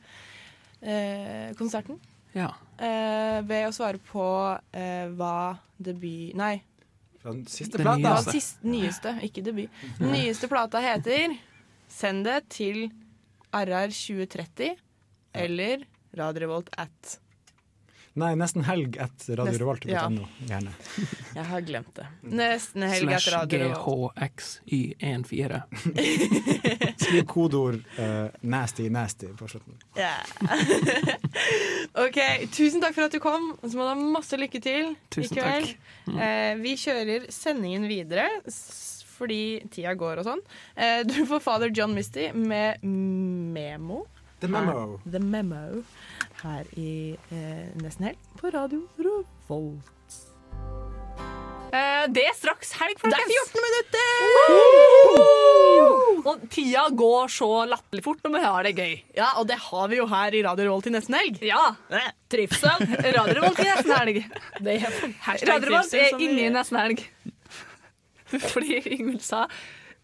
eh, konserten Ja. eh, ved å svare på eh, hva debut Nei, Fra den siste Den hva plata. sist, nyeste, ikke debut. Nyeste plata heter Send det til RR2030 eller Radiorevolt at Nei, nesten helg at Nest- ja. radiorevolt.no. Gjerne. Jeg har glemt det. Nesten helg Slash etter Radio. GHXY14. Skriv kodeord eh, 'nasty, nasty' på slutten. Ja. OK, tusen takk for at du kom. Og så må du ha masse lykke til i Tusen kveld. takk. Mm. Eh, vi kjører sendingen videre s- fordi tida går og sånn. Eh, du får Father John Misty med Memo. The Memo. Her, the Memo her i eh, Nesten Helg på Radio Revolt. Eh, det er straks helg, Det er folkens. 14 minutter! Og tida går så latterlig fort når man har det gøy. Ja, og det har vi jo her i Radio Revolt i nesten helg. Ja. Trivsel. Radio Revolt i nesten helg. Det er hashtag Radio Revolt trivsel er som vi- inne i nesten helg. Fordi Ingvild sa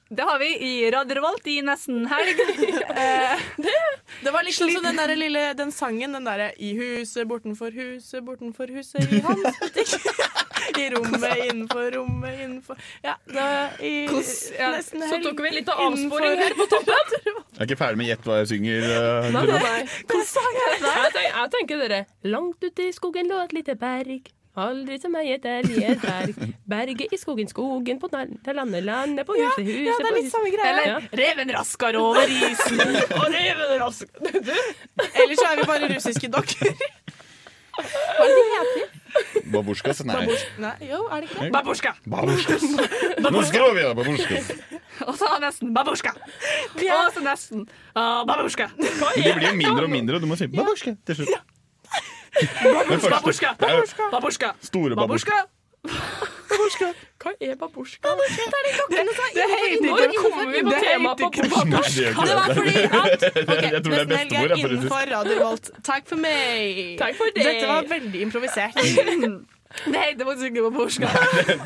det har vi i Radio Revolt i nesten helg. Eh, Det var liksom sånn den der lille den sangen, den derre I huset, bortenfor huset, bortenfor huset, i hans butikk. I rommet, innenfor rommet, innenfor Ja, det var i Kos- ja. nesten Så helg. tok vi en liten Innenfor- avsporing her på toppen. Jeg er ikke ferdig med gjett hva jeg synger. eh, Nei, Guro. nei. Jeg tenker, jeg tenker dere Langt ute i skogen lå et lite berg. Aldri som jeg gjetter der i et berg. Berget i skogen, skogen på nær- til landet, landet på huset, huset ja, det er på litt huset. samme greia. Eller, Reven rasker over isen, og reven rasker Ellers så er vi bare russiske dokker. Hva er det de heter? Babusjkas? Nei. Babusj- Nei, jo, er det ikke det? Babusjka. Babusjkas. Nå skrur vi av babusjkas. og så nesten babusjka. Og så nesten ah, babusjka. Men de blir jo mindre og mindre, og du må si babusjka til slutt. Den første. Babusjka. Det er jo Babusjka. Store babusjka. Babusjka. Hva er babusjka? Det er de dokkene som er innenfor. Nå kommer vi på temaet Nei, det er jo ikke babusjka. det. Ok, Jeg tror det er nesten helg er bestemor. jeg, faktisk. innenfor Radio Revolt. Takk for meg. Takk for deg. Dette var veldig improvisert. Det heter faktisk ikke babusjka.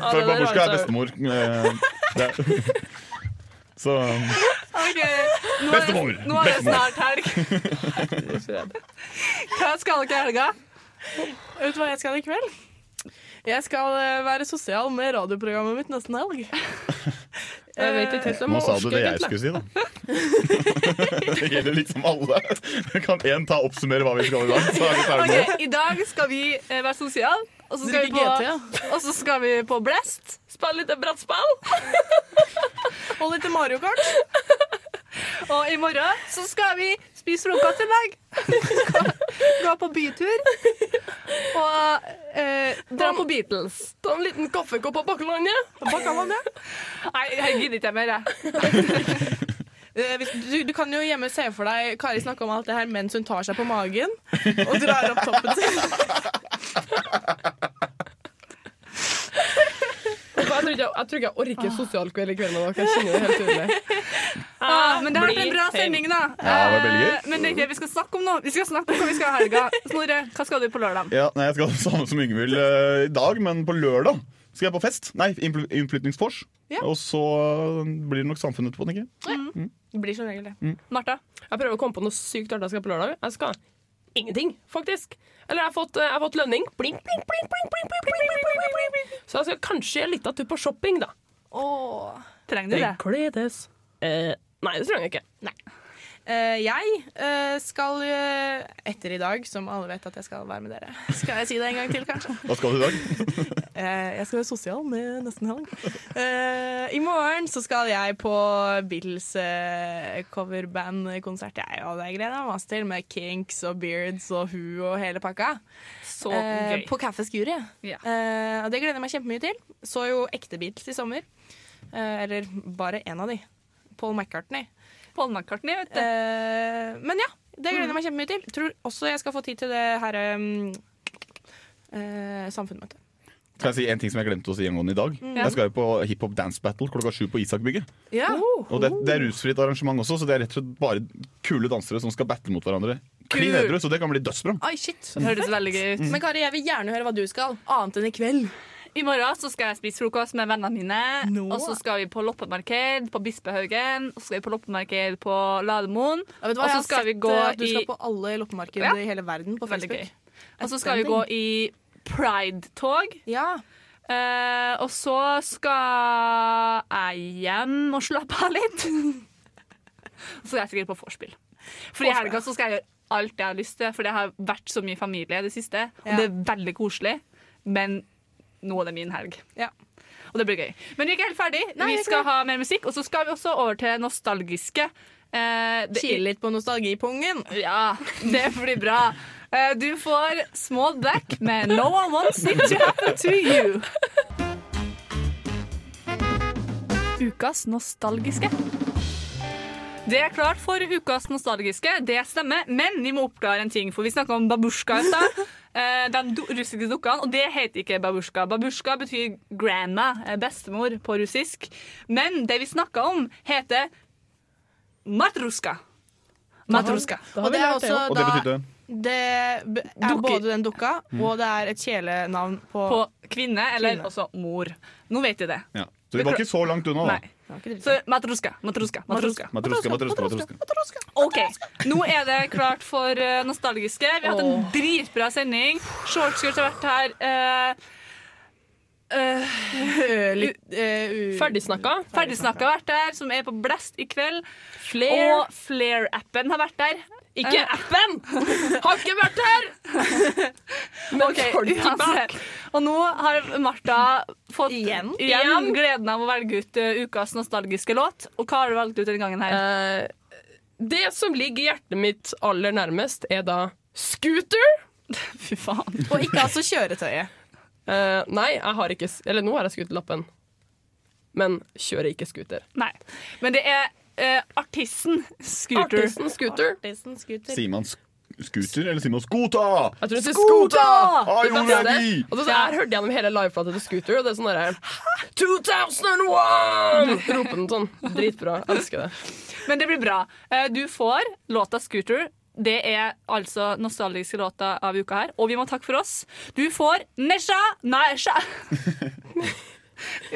For babusjka er bestemor. eh, det er- Så Ok, nå er, Bestemor, det- nå er det bestemor. snart helg. Hva skal dere i helga? Vet du hva jeg skal i kveld? Jeg skal eh, være sosial med radioprogrammet mitt nesten helg. Jeg vet ikke helt om Nå jeg sa du orker, det jeg egentlig. skulle si, da. Det gjelder liksom alle. Kan én ta og oppsummere hva vi skal i dag? Så er vi ferdig med det. Ok, I dag skal vi eh, være sosiale. Og så skal, vi Drikke GT, ja. på, og så skal vi på Blest. Spille litt brettspill. Og litt Mario Kart. Og i morgen så skal vi spise frokost i lag. Gå på bytur. Og eh, dra på Beatles. Ta en liten kaffekopp på bakkelandet. Nei, jeg gidder ikke mer, jeg. Eh, hvis- Du, du kan jo hjemme se for deg Kari snakke om alt det her mens hun tar seg på magen og drar opp toppen sin. Jeg tror ikke jeg, tror ikke jeg orker sosial kveld i kveld med dere. Jeg kjenner det helt tydelig. Ah, men det har vært en Bli bra heim. sending, da. Ja, det var veldig gøy. Eh, Men det er ikke det vi skal snakke om nå. Vi skal snakke om hva vi skal i helga. Snorre, hva skal du på lørdag? Ja, nei, jeg skal ha det samme som Yngvild eh, i dag, men på lørdag skal jeg på fest. Nei, innfly- innflytningsfors. Ja. Og så blir det nok samfunn etterpå, tenker jeg. Det blir som regel det. Martha? Jeg prøver å komme på noe sykt artig jeg skal på lørdag. Jeg skal ingenting, faktisk. Eller jeg har fått, jeg har fått lønning. Blink, blink, blink, blink, blink, blink, blink, blink, blink, blink, blink, blink. Så jeg skal kanskje en liten tur på shopping, da. Trenger du det? Kledes. Eh, nei, det trenger jeg ikke. Eh, jeg eh, skal eh, etter i dag, som alle vet at jeg skal være med dere Skal jeg si det en gang til, kanskje? Hva skal du i dag? Eh, jeg skal være sosial med nesten helg. Eh, I morgen så skal jeg på Beatles eh, coverbandkonsert, jeg, og det gleder jeg meg masse til, med Kinks og Beards og Who og hele pakka. Så Eh, gøy. På Kaffeskuret. Ja. Eh, og det gleder jeg meg kjempemye til. Så jo ekte Beatles i sommer. Eh, eller bare én av de. Paul McCartney. Paul McCartney, vet du. Eh, men ja, det gleder Mm. jeg meg kjempemye til. Tror også jeg skal få tid til det her um, eh, samfunnsmøtet. Skal jeg si en ting som jeg glemte å si angående i dag? Mm. Jeg skal jo på hiphop dance battle klokka sju på Isakbygget. Ja. Og det, det er rusfritt arrangement også, så det er rett og slett bare kule dansere som skal battle mot hverandre. Klin Kult. edru, så det kan bli dødsbra. Oi, shit. så Det høres fett. veldig gøy ut. Men Kari, jeg vil gjerne høre hva du skal, annet enn i kveld. I morgen så skal jeg spise frokost med vennene mine. Og så skal vi på loppemarked på Bispehaugen. Og så skal vi på loppemarked på Lademoen. Vet du hva, Og jeg så har skal vi sett, gå eh, at du i skal på alle loppemarkeder Ja. i hele verden på Veldig Facebook. Og så skal vi gå i pride-tog. Eh, og så skal jeg hjem og slappe av litt. Og så skal jeg sikkert på vorspiel. For i Vorspiel. helga så skal jeg gjøre alt jeg har lyst til, for det har vært så mye familie i det siste. Og Ja. det er veldig koselig, men nå er det min helg. Og det blir gøy. Men vi er ikke helt ferdig. Nei, vi er vi ikke skal det. ha mer musikk, og så skal vi også over til nostalgiske. Eh, det- Kile litt på nostalgipungen. Ja, det blir bra. Eh, du får Small Black med No One Wants It To Happen To You. Ukas nostalgiske. Det er klart for ukas nostalgiske, det stemmer. Men vi må oppklare en ting, for vi snakka om babusjka i stad. Eh, De do- russiske dukkene, og det heter ikke babusjka. Babusjka betyr grandma, eh, bestemor, på russisk. Men det vi snakka om, heter matruska. Matruska. Og det er også Og det da betydde? Det b- er både den dukka, og det er et kjælenavn på På kvinne, eller Kvinne. også mor. Nå vet vi det. Ja. Så vi var ikke så langt unna, da. Nei. Så matruska, matruska, matruska. Matruska, matruska, matruska. OK, nå er det klart for eh, nostalgiske. Vi har hatt en Åh. dritbra sending. Shortskirt har vært her. eh, eh, Ferdigsnakka. Ferdigsnakka har vært der, som er på Blast i kveld. Flair. Og Flair-appen har vært der. Ikke appen! Har ikke vært her! Men folket bak. Og nå har Martha fått igjen. Igjen. gleden av å velge ut eh, ukas nostalgiske låt. Og hva har du valgt ut denne gangen her? Eh, Det som ligger hjertet mitt aller nærmest, er da scooter. Fy faen. Og ikke altså kjøretøyet. Eh, nei, jeg har ikke s- Eller nå har jeg scooterlappen. Men kjører ikke scooter. Nei. Men det er eh, artisten Scooter. Artisten Scooter. Sier man sk scooter, eller sier man skota? Ah, Jeg tror det heter Skota! Skota! Ai, Det hvor beste. er vi? Og det, jeg hørte gjennom hele liveplata til Scooter, og det er sånn derre 2001! Roper den sånn. Dritbra. Jeg elsker det. Men det blir bra. Eh, Du får låta 'Scooter'. Det er altså nostalgiske låta av uka her. Og vi må takke for oss. Du får Nesha Nesha.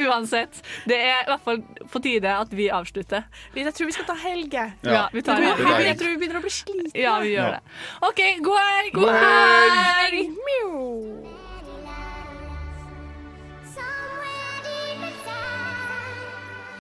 Uansett. Det er i hvert fall på tide at vi avslutter. Jeg tror vi skal ta helge. Ja, vi tar jeg, helg. tror, jeg tror vi begynner å bli slitne. Ja, vi gjør det. OK, god helg! God helg! Mjau.